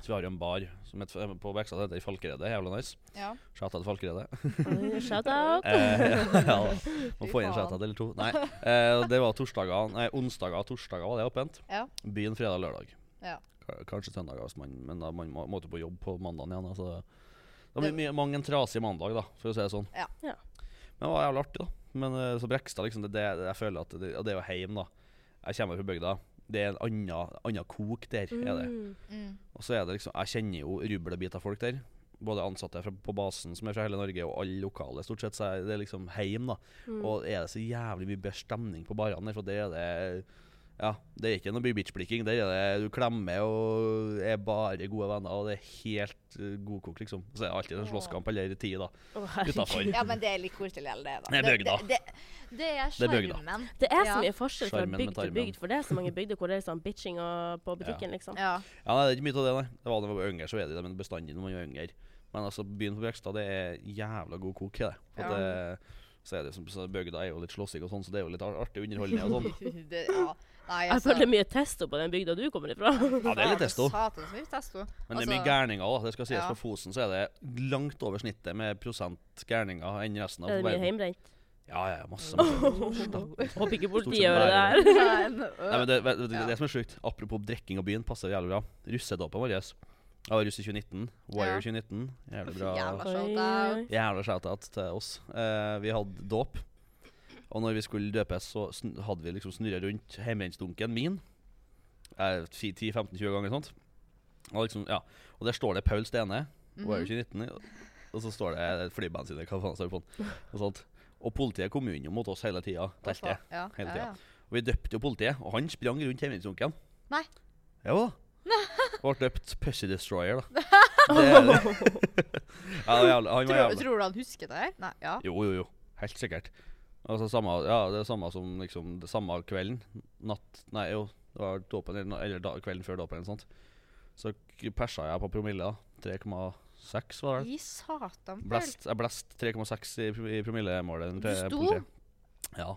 Speaker 3: Så vi har jo en bar som heter, eh, på Bekstad heter Falkeredet. Jævla nice.
Speaker 1: ja.
Speaker 3: Shouta til Falkeredet.
Speaker 2: Oi, Shout out.
Speaker 3: Eh, ja, ja, da. Må
Speaker 1: Fy
Speaker 3: få inn en
Speaker 1: faen.
Speaker 3: shouta eller to. Nei, eh, det var torsdager, nei, onsdager og torsdager var det åpent.
Speaker 1: Ja.
Speaker 3: Byen fredag og lørdag.
Speaker 1: Ja.
Speaker 3: Ka- Kanskje søndager, hvis man, men da man må, måtte på jobb på mandagen igjen. Altså. Det blir mye, mange en trasig mandag, da, for å si det sånn.
Speaker 1: Ja.
Speaker 2: Ja.
Speaker 3: Men det var jævlig artig, da. Men eh, så Brekstad, liksom, det, det, det jeg føler at det, Og det er jo heim, da. Jeg kommer fra bygda. Det er en annen, annen kok der, er det.
Speaker 2: Mm.
Speaker 1: Mm.
Speaker 3: Og så er det liksom Jeg kjenner jo rublebit av folk der. Både ansatte fra, på basen som er fra hele Norge, og alle lokale. Stort sett så er det liksom heim, da. Og er det så jævlig mye bedre stemning på barene der, for der er det Ja, det er ikke noe mye bitch-blikking. Der er det du klemmer og er bare gode venner, og det er helt uh, godkokt, liksom. Så er det alltid en slåsskamp eller ti, da.
Speaker 2: Å, herregud.
Speaker 3: Utafor.
Speaker 1: ja, men det er litt koselig, eller det, da.
Speaker 3: Det er bygda.
Speaker 1: Det, det, det er
Speaker 3: Det er bygda.
Speaker 1: sjarmen.
Speaker 2: Det er så
Speaker 1: Ja.
Speaker 2: mye forskjell fra
Speaker 3: Skjermen med
Speaker 2: bygd til
Speaker 3: tarmen.
Speaker 2: bygd, for det er så mange bygder hvor det er sånn bitching og på butikken, liksom.
Speaker 1: Ja.
Speaker 3: Ja, nei, det er ikke mye av det, nei. Det var da man var yngre, så er det det, men bestandig når man er yngre. Men altså, byen på Brekstad, det er jævla god kok, er det. For
Speaker 1: Ja.
Speaker 3: det så er det som, så Bygda er jo litt slåssig og sånn, så det er jo litt ar- artig underholdning og sånn.
Speaker 1: det, ja. Nei,
Speaker 2: Jeg
Speaker 1: altså,
Speaker 2: føler mye testo på den bygda du kommer ifra.
Speaker 3: Ja, det er litt testo.
Speaker 1: Satan, så mye testo.
Speaker 3: Men det er mye
Speaker 1: Altså,
Speaker 3: gærninger òg, det skal sies.
Speaker 1: ja.
Speaker 3: På Fosen så er det langt over snittet med prosent gærninger enn resten av
Speaker 2: Er det mye
Speaker 3: verden.
Speaker 2: heimbrent?
Speaker 3: Ja, ja, ja, masse. masse.
Speaker 2: Håper ikke
Speaker 3: sett
Speaker 2: politiet gjør det
Speaker 3: bare-
Speaker 2: her.
Speaker 1: Nei, men,
Speaker 3: Nei, men det, vet du, det,
Speaker 1: Ja.
Speaker 3: det som er sjukt, apropos drikking og byen, passer jævlig bra. Russedåpen vår. Jeg var russ i 2019. Wire
Speaker 1: Ja.
Speaker 3: 2019. Jævlig bra.
Speaker 1: Jævla
Speaker 2: Oi,
Speaker 1: Shout
Speaker 2: oi.
Speaker 1: out.
Speaker 3: Jævla shout-out til oss. Eh, vi hadde dåp. Og når vi skulle døpes, så sn hadde vi liksom snurra rundt hjemmebrentdunken min. Eh, 10-15-20 ganger sånt. Og, liksom, ja. og der står det Paul Stene. Hun
Speaker 1: Mhm.
Speaker 3: er jo ikke 19. og- Og så står det flybandsine, hva faen står det på den? Og, sånt. og politiet kom jo innom mot oss hele tida.
Speaker 1: Hva faen?
Speaker 3: teltet.
Speaker 1: Ja,
Speaker 3: hele
Speaker 1: ja,
Speaker 3: tida.
Speaker 1: ja.
Speaker 3: Og vi døpte jo politiet, og han sprang rundt hjemmebrentdunken.
Speaker 1: Nei.
Speaker 3: Jo da. Ble døpt Pussy Destroyer, da. Det er det. ja, det var jævlig. Han var
Speaker 1: Tror,
Speaker 3: jævlig.
Speaker 1: tror du han husker det her? Nei, ja.
Speaker 3: Jo, jo, jo. Helt sikkert. Altså, samme, ja, det er samme som liksom det samme kvelden. Natt Nei, jo. Det var dåpen, eller, eller da, kvelden før dåpen eller noe sånt. Så k- persa jeg på promille. da. 3,6 var det.
Speaker 1: I satan. føl.
Speaker 3: Blest, jeg blest 3,6 i, pro- i promillemålet.
Speaker 1: Du
Speaker 3: til
Speaker 1: sto?
Speaker 3: politiet. Ja.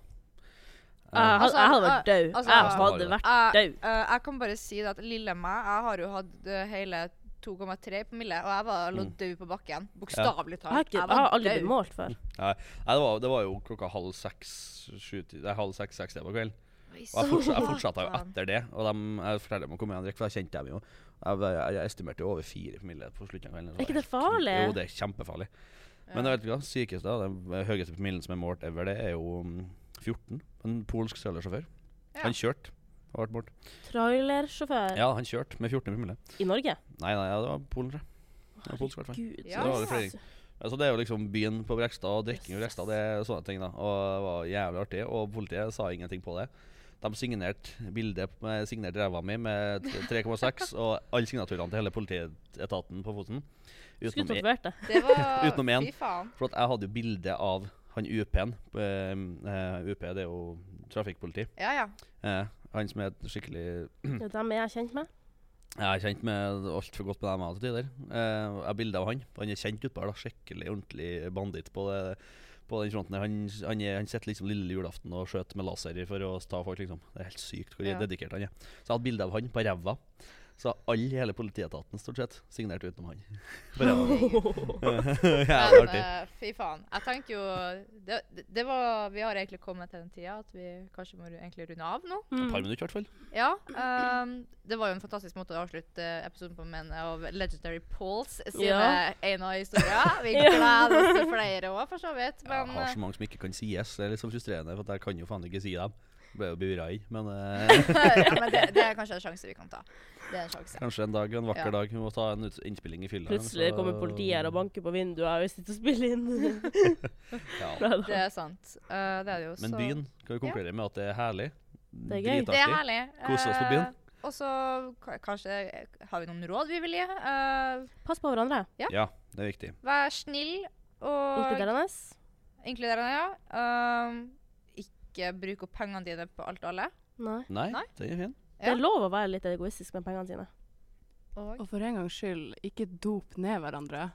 Speaker 2: Jeg
Speaker 3: Eh,
Speaker 2: hadde- jeg hadde vært
Speaker 1: Altså,
Speaker 2: død.
Speaker 1: altså-
Speaker 2: Jeg hadde vært
Speaker 1: Jeg,
Speaker 2: Dau.
Speaker 1: eh, jeg kan bare si det at lille meg, jeg har jo hatt eh, hele 2,3 på mille, og jeg var lå
Speaker 3: Mm.
Speaker 1: død på bakken. Bokstavelig
Speaker 2: Jeg har,
Speaker 1: talt.
Speaker 2: ikke, jeg har aldri blitt målt før.
Speaker 3: Nei, det var, det var jo klokka halv seks, sju, ti- nei, halv seks, seks det på kvelden.
Speaker 1: I
Speaker 3: Og jeg, fortsatte, jeg
Speaker 1: satan.
Speaker 3: fortsatte jo etter det. Og dem, jeg forteller dem å komme igjen og drikke, for jeg kjente dem jo. Jeg, jeg, jeg estimerte jo over fire promille på slutten av kvelden. så
Speaker 2: Er ikke det
Speaker 3: var helt-
Speaker 2: farlig?
Speaker 3: Jo, det er kjempefarlig. Men jeg vet ikke hva, sykeste, da, den høyeste promillen som er målt ever, det er jo mm, 14. En polsk trailersjåfør.
Speaker 1: Ja.
Speaker 3: Han kjørte. Har vært borte.
Speaker 2: Trailersjåfør
Speaker 3: Ja, han kjørte med 14 promille.
Speaker 2: i Norge?
Speaker 3: Nei, nei, ja, det var Polen, tror jeg. Det var polsk, i hvert fall.
Speaker 2: Gud.
Speaker 1: Ja.
Speaker 3: Det var det flere. Altså, det er jo liksom byen på Brekstad og drikking i
Speaker 2: Yes.
Speaker 3: Brekstad. Det er sånne ting da Og det var jævlig artig. Og politiet sa ingenting på det. De signerte bildet med signert ræva mi med t- 3,6 og alle signaturene til hele politietaten på foten.
Speaker 2: Skulle
Speaker 3: Utenom, e-
Speaker 2: tatovert det.
Speaker 1: Det var
Speaker 3: Utenom en.
Speaker 1: Fy faen.
Speaker 3: for at jeg hadde jo bilde av han UP-en. eh, eh, UP det er jo trafikkpoliti.
Speaker 1: Ja, ja.
Speaker 3: Eh, han som er et skikkelig
Speaker 2: Det er dem jeg er kjent med.
Speaker 3: Jeg er kjent med altfor godt med dem jeg til tider. Eh, jeg har bilde av han. Han er kjent utpå her. da, Skikkelig ordentlig banditt på, det, på den fronten. der. Han, han, er- han sitter liksom lille julaften og skjøter med laser for å ta folk, liksom. Det er helt sykt hvor
Speaker 1: Ja.
Speaker 3: dedikert han er. Så jeg hadde bilde av han på ræva. Så alle i hele politietaten stort sett signerte utenom han. På ræva. Jævlig
Speaker 1: Men
Speaker 3: artig.
Speaker 1: eh, fy faen. Jeg tenker jo det, det var Vi har egentlig kommet til den tida at vi kanskje må ru- egentlig runde av nå.
Speaker 3: Et
Speaker 2: Mm.
Speaker 3: par minutter, i hvert fall.
Speaker 1: Ja. ehm, det var jo en fantastisk måte å avslutte episoden på med en av Legendary Pauls sine
Speaker 2: Ja.
Speaker 1: ene historier. Vi
Speaker 2: Ja.
Speaker 1: gleder oss til flere òg, for så vidt.
Speaker 3: Jeg
Speaker 1: Men
Speaker 2: eh,
Speaker 1: eh,
Speaker 3: har så mange som ikke kan sies. Det er litt så frustrerende, for at jeg kan jo faen ikke si dem. Ble jo bura inn. Men eh,
Speaker 1: ja, men det, det er kanskje en sjanse vi kan ta. Det er en sjanse.
Speaker 3: kanskje en dag, en vakker
Speaker 1: Ja.
Speaker 3: dag, vi må ta en ut- innspilling i fylla.
Speaker 2: Plutselig
Speaker 3: så-
Speaker 2: kommer politiet her og banker på vinduet, og jeg sitter og spiller inn.
Speaker 3: Ja.
Speaker 1: Det er sant. Eh, det er det jo.
Speaker 3: Men
Speaker 1: så-
Speaker 3: byen kan vi konkludere med at det er herlig.
Speaker 2: er gøy.
Speaker 1: Det er herlig.
Speaker 3: Kose oss på byen.
Speaker 1: Eh, og så ka- kanskje eh, har vi noen råd vi vil gi. Eh,
Speaker 2: Pass på hverandre.
Speaker 1: Ja.
Speaker 3: Ja, det er viktig.
Speaker 1: vær snill og
Speaker 2: Inkluderende.
Speaker 1: inkluderende. Ja. Um, ikke bruk opp pengene dine på alt og alle.
Speaker 2: Nei.
Speaker 3: Nei,
Speaker 1: Nei.
Speaker 3: den er fin.
Speaker 2: Det er lov å være litt egoistisk med pengene sine.
Speaker 1: Og,
Speaker 4: Og for en gangs skyld, ikke dop ned hverandre.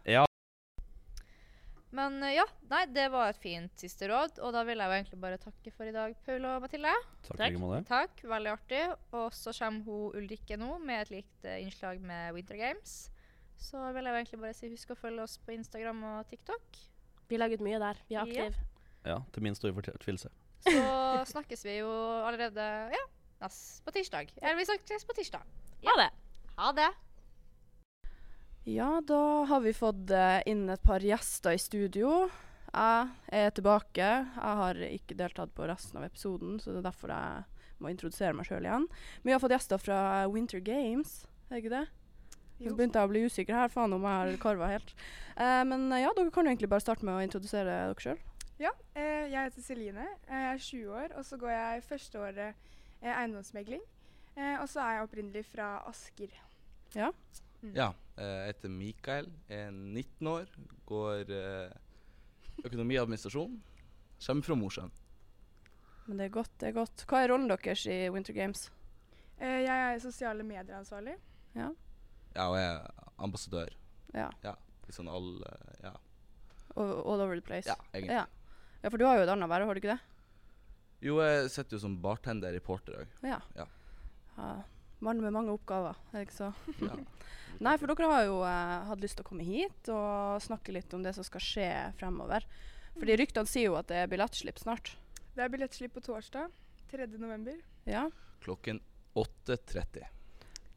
Speaker 1: men eh, ja, nei, det var et fint siste råd. Og da vil jeg jo egentlig bare takke for i dag, Paul og Mathilde.
Speaker 3: Takk
Speaker 2: Takk.
Speaker 3: i like måte.
Speaker 1: Takk, veldig artig. Og så kommer hun Ulrikke nå med et likt eh, innslag med Winter Games. Så vil jeg jo egentlig bare si husk å følge oss på Instagram og TikTok.
Speaker 2: Vi legger ut mye der. Vi
Speaker 1: Ja.
Speaker 2: er aktive.
Speaker 3: Ja, til min store fortvilelse.
Speaker 1: Så snakkes vi jo allerede ja, nest på tirsdag. Eller vi snakkes på tirsdag.
Speaker 2: Ha det!
Speaker 1: Ha det!
Speaker 4: Ja, da har vi fått eh, inn et par gjester i studio. Jeg er tilbake. Jeg har ikke deltatt på resten av episoden, så det er derfor jeg må introdusere meg sjøl igjen. Men vi har fått gjester fra Winter Games, er det ikke det? Nå begynte jeg å bli usikker her, faen om jeg har karva helt. Eh, men eh, ja, dere kan jo egentlig bare starte med å introdusere dere sjøl.
Speaker 5: Ja, eh, jeg heter Celine. eh, Jeg er 20 år, og så går jeg førsteåret eh, eiendomsmegling. Eh, og så er jeg opprinnelig fra Asker.
Speaker 1: Mm.
Speaker 6: Ja. eh, Jeg heter Mikael, er 19 år, går eh, økonomi og administrasjon. Kommer fra Mosjøen.
Speaker 4: Men det er godt, det er godt. Hva er rollen deres i Winter Games?
Speaker 5: Eh, jeg er sosiale medieransvarlig.
Speaker 6: Ja, og jeg er ambassadør.
Speaker 4: Ja,
Speaker 6: Litt sånn all eh, Ja,
Speaker 4: all, all over the place.
Speaker 6: ja egentlig.
Speaker 4: Ja. ja, for du har jo et annet verv, har du ikke det?
Speaker 6: Jo, jeg sitter jo som bartender i Porter òg.
Speaker 4: Ja.
Speaker 6: Ja.
Speaker 4: Ja, Mann med mange oppgaver, er det ikke så?
Speaker 6: Ja.
Speaker 4: Nei, for dere har jo eh, hatt lyst til å komme hit og snakke litt om det som skal skje fremover. Fordi ryktene sier jo at det er billettslipp snart.
Speaker 5: Det er billettslipp på torsdag 3. november.
Speaker 4: Ja.
Speaker 6: Klokken 8.30.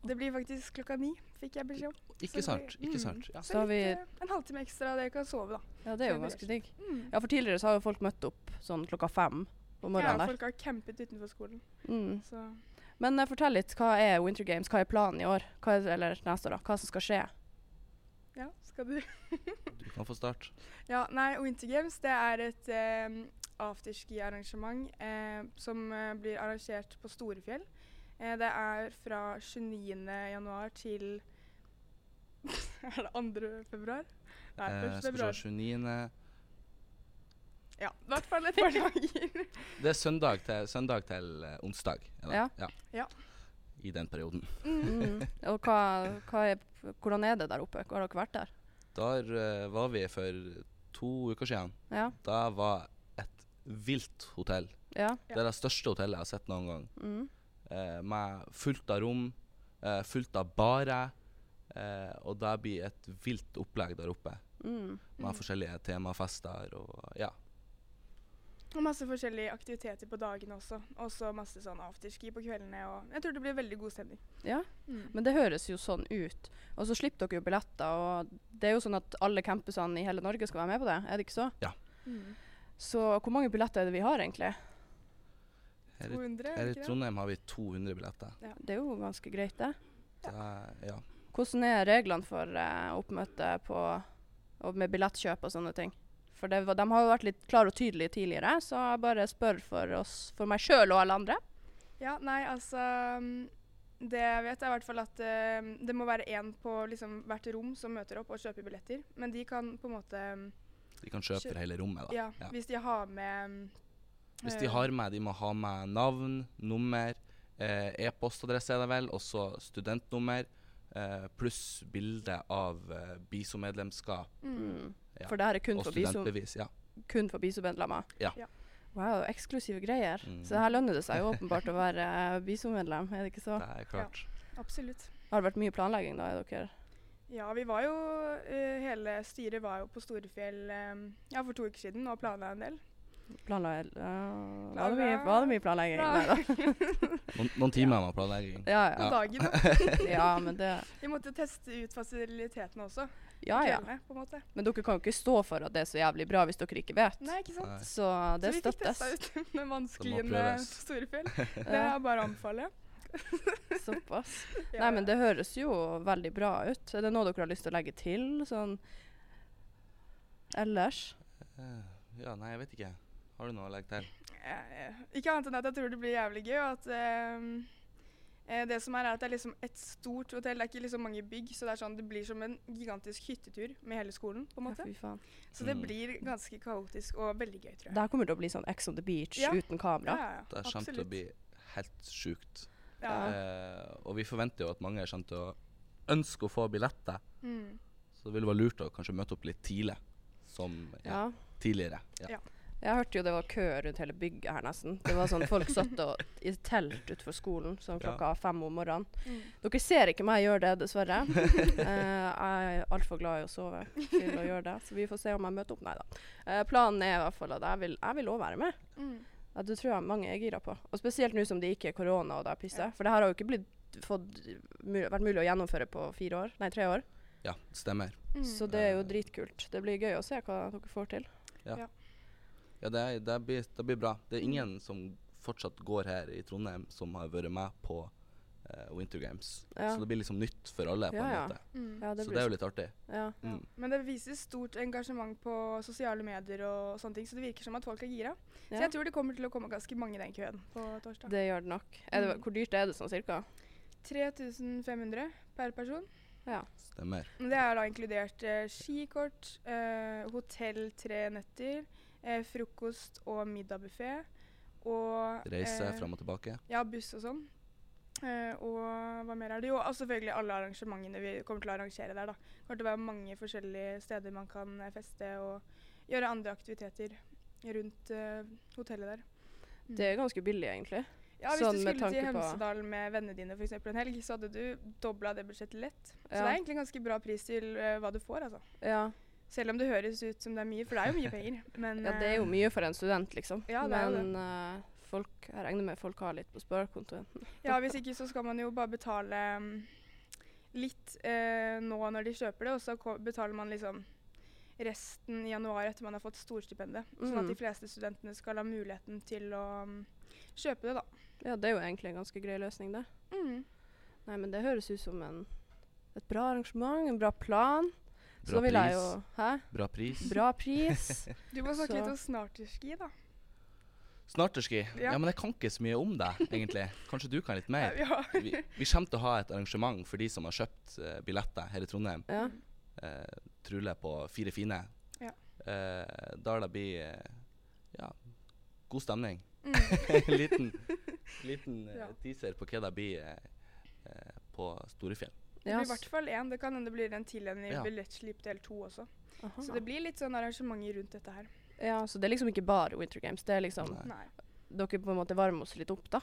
Speaker 5: Det blir faktisk klokka ni, fikk jeg beskjed om.
Speaker 6: Ikke
Speaker 5: Så det-
Speaker 6: sant? Ikke
Speaker 5: mm.
Speaker 6: sant? Ja.
Speaker 5: Så,
Speaker 4: Så har vi-
Speaker 5: litt, eh, en halvtime ekstra, dere kan sove, da.
Speaker 4: ja, det er jo
Speaker 5: Kjøper
Speaker 4: ganske digg.
Speaker 5: Mm.
Speaker 4: Ja, for tidligere så har jo folk møtt opp sånn klokka fem på
Speaker 5: Ja,
Speaker 4: morgenen der.
Speaker 5: folk har campet utenfor skolen.
Speaker 4: Mm.
Speaker 5: Så.
Speaker 4: Men eh, fortell litt, hva er Winter Games, hva er planen i år? Hva er, eller neste år, da? Hva som skal skje?
Speaker 5: Ja, skal du
Speaker 6: Du kan få start.
Speaker 5: Ja, nei, Winter Games det er et ehm, eh, afterski-arrangement eh, som eh, blir arrangert på Storefjell. Eh, Det er fra 29. januar til Er det 2. februar? Nei, 1.
Speaker 6: Eh, skal vi
Speaker 5: februar.
Speaker 6: se 29.
Speaker 5: Ja, i hvert fall et par dager.
Speaker 6: Det er søndag til, søndag til eh, onsdag. er det?
Speaker 4: Ja.
Speaker 5: Ja.
Speaker 6: I den perioden.
Speaker 4: Mm. Og hva, hva er, hvordan er det der oppe? Har dere vært der?
Speaker 6: Der eh, var vi for to uker siden.
Speaker 4: Ja.
Speaker 6: Da var et vilt hotell.
Speaker 4: ja.
Speaker 6: Det er det største hotellet jeg har sett noen gang.
Speaker 4: Mm.
Speaker 6: Eh, med fullt av rom, eh, fullt av barer. Eh, og det blir et vilt opplegg der oppe.
Speaker 4: Mm.
Speaker 6: Med forskjellige temafester og ja.
Speaker 5: Og masse forskjellige aktiviteter på dagene også. Og så masse sånn afterski på kveldene. Og jeg tror det blir veldig god stemning. Mm.
Speaker 4: ja. Men det høres jo sånn ut. Og så slipper dere jo billetter, og det er jo sånn at alle campusene i hele Norge skal være med på det, er det ikke så?
Speaker 5: Mm.
Speaker 4: Så hvor mange billetter er det vi har egentlig?
Speaker 6: Her
Speaker 5: 200,
Speaker 6: i, her
Speaker 5: er
Speaker 6: i
Speaker 5: det ikke det?
Speaker 6: Trondheim har vi 200 billetter.
Speaker 4: Det er jo ganske greit, det.
Speaker 6: Det er, ja.
Speaker 4: Hvordan er reglene for eh, oppmøte på, og med billettkjøp og sånne ting? For det, var- de har jo vært litt klare og tydelige tidligere, så jeg bare spør for oss, for meg sjøl og alle andre.
Speaker 5: Ja, nei, altså mm, Det jeg vet, er i hvert fall at eh, det må være én på liksom, hvert rom som møter opp og kjøper billetter. Men de kan på en måte mm,
Speaker 6: De kan kjøpe for hele rommet. da.
Speaker 5: Ja,
Speaker 6: Ja.
Speaker 5: hvis de har med mm,
Speaker 6: Hvis de
Speaker 5: eh,
Speaker 6: har med, de må ha med navn, nummer, eh, e-postadresse er det vel, og så studentnummer, eh, pluss bilde av eh, BISO-medlemskap
Speaker 5: mm.
Speaker 4: Mm.
Speaker 6: Ja.
Speaker 4: For det her er kun
Speaker 6: og
Speaker 4: for, biso,
Speaker 6: studentbevis. Ja.
Speaker 4: kun for BISO-medlemmer.
Speaker 6: Ja.
Speaker 5: Ja.
Speaker 4: Wow, eksklusive greier.
Speaker 6: Mm.
Speaker 4: Så her lønner det seg jo åpenbart å være eh, BISO-medlem, er det ikke så?
Speaker 6: Det er klart.
Speaker 5: Absolutt.
Speaker 4: Har det vært mye planlegging da, er dere?
Speaker 5: Ja, vi var jo eh, Hele styret var jo på Storefjell eh, ja, for to uker siden og planla en del.
Speaker 4: Planla, eh, var, det mye, var det mye planlegging?
Speaker 5: Bra.
Speaker 4: Nei da.
Speaker 6: Noen, noen timer med planlegging.
Speaker 4: Ja,
Speaker 5: På
Speaker 4: ja.
Speaker 5: dagen, da.
Speaker 4: ja, men det
Speaker 5: Vi måtte teste ut fasilitetene også.
Speaker 4: Ja, ja.
Speaker 5: Kveldene, på en måte.
Speaker 4: Men dere kan jo ikke stå for at det er så jævlig bra hvis dere ikke vet.
Speaker 5: Nei, ikke sant?
Speaker 6: Nei.
Speaker 4: Så det
Speaker 5: så vi fikk
Speaker 4: støttes.
Speaker 5: testa ut den vanskelige med
Speaker 6: prøves.
Speaker 5: Storefjell. Det
Speaker 4: Ja.
Speaker 5: er bare å anbefale.
Speaker 4: Såpass.
Speaker 5: Ja,
Speaker 4: Nei, men
Speaker 5: ja.
Speaker 4: det høres jo veldig bra ut. Er det noe dere har lyst til å legge til sånn ellers?
Speaker 6: Eh, ja, nei, jeg vet ikke. Har du noe å legge til?
Speaker 5: Eh, Ikke annet enn at jeg tror det blir jævlig gøy. Og at ehm, eh, det som er, er at det er liksom et stort hotell. Det er ikke liksom mange bygg, så det er sånn det blir som en gigantisk hyttetur med hele skolen. på en
Speaker 4: Ja,
Speaker 5: måte.
Speaker 4: fy faen.
Speaker 5: Så det
Speaker 6: Mm.
Speaker 5: blir ganske kaotisk og veldig gøy, tror jeg.
Speaker 4: Det her kommer til å bli sånn Ex on the beach
Speaker 5: Ja.
Speaker 4: uten kamera.
Speaker 5: ja, ja.
Speaker 6: Det kommer til
Speaker 5: absolutt.
Speaker 6: å bli helt sjukt.
Speaker 5: Ja.
Speaker 6: Eh, og vi forventer jo at mange kommer til å ønske å få billetter.
Speaker 5: Mm.
Speaker 6: Så det ville være lurt å kanskje møte opp litt tidlig, som ja,
Speaker 4: Ja.
Speaker 6: tidligere. Ja.
Speaker 4: Jeg hørte jo det var kø rundt hele bygget her, nesten. Det var sånn Folk satt og, i telt utenfor skolen sånn
Speaker 6: Ja.
Speaker 4: klokka fem om morgenen.
Speaker 5: Mm.
Speaker 4: Dere ser ikke meg gjøre det, dessverre. Eh, jeg er altfor glad i å sove til å gjøre det, så vi får se om jeg møter opp. Nei da. Eh, planen er i hvert fall at jeg vil, jeg vil også være med.
Speaker 5: Mm.
Speaker 4: Ja, det tror jeg mange er gira på. Og spesielt nå som det ikke er korona og det er pisse. For det her har jo ikke blitt fått, mul vært mulig å gjennomføre på fire år, nei tre år.
Speaker 6: ja, stemmer.
Speaker 5: Mm.
Speaker 4: Så det er jo dritkult. Det blir gøy å se hva dere får til.
Speaker 6: Ja, det, er- det, blir, det blir bra. Det er ingen som fortsatt går her i Trondheim som har vært med på eh, Winter Games.
Speaker 4: Ja.
Speaker 6: Så det blir liksom nytt for alle, på
Speaker 4: Ja,
Speaker 6: en
Speaker 4: ja.
Speaker 6: måte.
Speaker 5: Mm.
Speaker 4: Ja, det
Speaker 6: så
Speaker 4: blir
Speaker 6: det er jo litt artig.
Speaker 4: ja.
Speaker 5: Ja.
Speaker 6: Mm.
Speaker 5: Men det vises stort engasjement på sosiale medier, og sånne ting, så det virker som at folk er gira. Så
Speaker 4: Ja.
Speaker 5: jeg tror det kommer til å komme ganske mange i den køen på torsdag.
Speaker 4: Det gjør det nok. Er
Speaker 5: Mm.
Speaker 4: det, hvor dyrt er det sånn cirka?
Speaker 5: 3500 per person.
Speaker 6: Stemmer.
Speaker 5: Men Det er da inkludert eh, skikort, eh, hotell tre netter, eh, frokost og middagbuffé. Og
Speaker 6: Reise
Speaker 5: eh,
Speaker 6: fram og tilbake.
Speaker 5: Ja, buss og sånn. Eh, og hva mer er det? Jo, og selvfølgelig alle arrangementene vi kommer til å arrangere der. da. Det kommer til å være mange forskjellige steder man kan eh, feste og gjøre andre aktiviteter rundt eh, hotellet der. Mm.
Speaker 4: Det er ganske billig, egentlig.
Speaker 5: Ja, Hvis
Speaker 4: Sånn
Speaker 5: du
Speaker 4: med
Speaker 5: skulle til
Speaker 4: tanke på-
Speaker 5: Hemsedal med vennene dine for eksempel en helg, så hadde du dobla det budsjettet lett. Så
Speaker 4: Ja.
Speaker 5: det er egentlig en ganske bra pris til eh, hva du får, altså.
Speaker 4: Ja.
Speaker 5: Selv om det høres ut som det er mye, for det er jo mye penger. Men
Speaker 4: ja, det er jo
Speaker 5: eh,
Speaker 4: mye for en student, liksom.
Speaker 5: Ja, det er jo det.
Speaker 4: Men eh, folk, jeg regner med folk har litt på sparekontoen.
Speaker 5: ja, hvis ikke så skal man jo bare betale mm, litt eh, nå når de kjøper det, og så ko- betaler man liksom resten i januar etter man har fått storstipendet. Sånn
Speaker 4: Mm.
Speaker 5: at de fleste studentene skal ha muligheten til å mm, kjøpe det, da.
Speaker 4: Ja, det er jo egentlig en ganske grei løsning, det.
Speaker 5: Mm.
Speaker 4: Nei, men det høres ut som en, et bra arrangement, en bra plan. så da
Speaker 6: Bra
Speaker 4: vil jeg jo
Speaker 6: pris.
Speaker 4: Hæ?
Speaker 6: Bra pris.
Speaker 4: Bra pris.
Speaker 5: Du må snakke
Speaker 4: Så-
Speaker 5: litt om snarterski, da.
Speaker 6: Snarterski. Ja.
Speaker 5: Ja.
Speaker 6: men jeg kan ikke så mye om deg, egentlig. Kanskje du kan litt mer?
Speaker 5: Ja.
Speaker 6: Vi, vi kommer til å ha et arrangement for de som har kjøpt eh, billetter her i Trondheim.
Speaker 4: Ja.
Speaker 6: Eh, Trule på Fire fine.
Speaker 5: Ja.
Speaker 6: Eh, da det blir eh, ja, god stemning.
Speaker 5: Mm.
Speaker 6: En liten liten eh,
Speaker 5: Ja.
Speaker 6: teaser på hva det blir eh, eh, på Storefjell.
Speaker 5: Det
Speaker 4: Ja,
Speaker 5: blir i
Speaker 4: s-
Speaker 5: hvert fall én. Det kan hende det blir en til en i
Speaker 6: Ja.
Speaker 5: Billettslip del to også.
Speaker 4: aha.
Speaker 5: Så det blir litt sånn arrangementer rundt dette her.
Speaker 4: ja, så det er liksom ikke bare Winter Games. Det er liksom
Speaker 6: Nei.
Speaker 5: Nei,
Speaker 4: Dere på en måte varmer oss litt opp, da.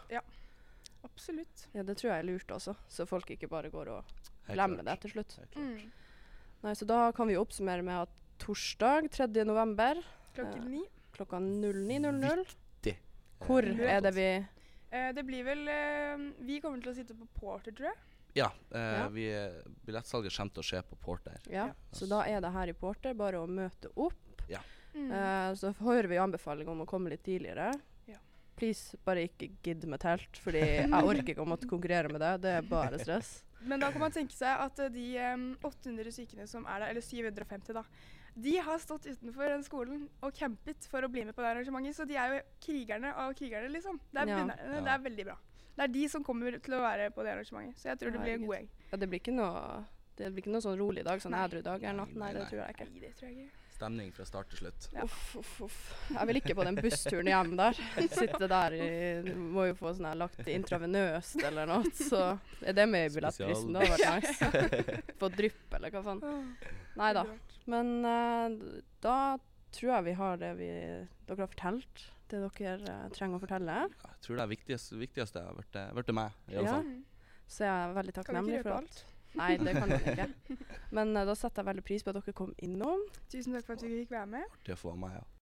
Speaker 5: absolutt.
Speaker 4: Ja, Det tror jeg er lurt også, så folk ikke bare går og
Speaker 6: Helt
Speaker 4: glemmer det
Speaker 6: klart.
Speaker 4: til slutt.
Speaker 6: Helt klart.
Speaker 5: Mm.
Speaker 4: Nei, så da kan vi jo oppsummere med at torsdag 3. november
Speaker 5: Klokken
Speaker 4: Ja.
Speaker 5: ni.
Speaker 4: klokka 09.00
Speaker 6: Eh,
Speaker 4: Hvor
Speaker 6: helt
Speaker 4: er det
Speaker 6: klart.
Speaker 4: vi
Speaker 5: Eh, det blir vel eh, Vi kommer til å sitte på Porter, tror jeg.
Speaker 6: Ja. Eh,
Speaker 4: Ja.
Speaker 6: Vi, billettsalget kommer til å skje på Porter.
Speaker 4: Ja, så da er det her i Porter. Bare å møte opp.
Speaker 5: Mm.
Speaker 4: Eh, så hører vi anbefaling om å komme litt tidligere.
Speaker 5: Ja.
Speaker 4: Please, bare ikke gidd med telt, fordi jeg orker ikke å måtte konkurrere med deg. Det er bare stress.
Speaker 5: Men da kan man tenke seg at eh, de em, 800 sykene som er der, eller 750 da, de har stått utenfor den skolen og campet for å bli med på det arrangementet, så de er jo krigerne av krigerne, liksom. Det er,
Speaker 4: Ja.
Speaker 5: vinnerne, det
Speaker 6: Ja.
Speaker 5: er veldig bra. Det er de som kommer til å være på det arrangementet, så jeg tror det blir en god gjeng.
Speaker 4: Ja, det blir ikke noe det blir ikke noe sånn rolig dag, sånn
Speaker 5: Nei.
Speaker 4: edru dag eller natt. Nei,
Speaker 6: Nei,
Speaker 4: det
Speaker 6: nei.
Speaker 4: tror jeg ikke.
Speaker 5: Nei, det tror jeg ikke.
Speaker 6: Stemning fra start til slutt.
Speaker 5: Ja.
Speaker 4: Uff, uff, uff. Jeg vil ikke på den bussturen hjem der. Sitte der i Må jo få sånn her lagt intravenøst eller noe. Så er det med i billettprisen. Det hadde vært nice. Få drypp eller hva faen. Nei da. Men eh, da tror jeg vi har det vi dere har fortalt. Det dere eh, trenger å fortelle.
Speaker 6: Jeg tror det er viktigste, viktigste har vært, eh, vært det meg. i alle
Speaker 4: Ja.
Speaker 6: fall.
Speaker 5: Mm.
Speaker 4: Så jeg er veldig
Speaker 5: Kan vi
Speaker 4: takknemlig
Speaker 5: ikke
Speaker 4: for
Speaker 5: røpe
Speaker 4: at
Speaker 5: alt?
Speaker 4: Nei, det kan man ikke. Men eh, da setter jeg veldig pris på at dere kom innom.
Speaker 5: Tusen takk for at vi fikk være med.
Speaker 6: Artig å få være med, ja.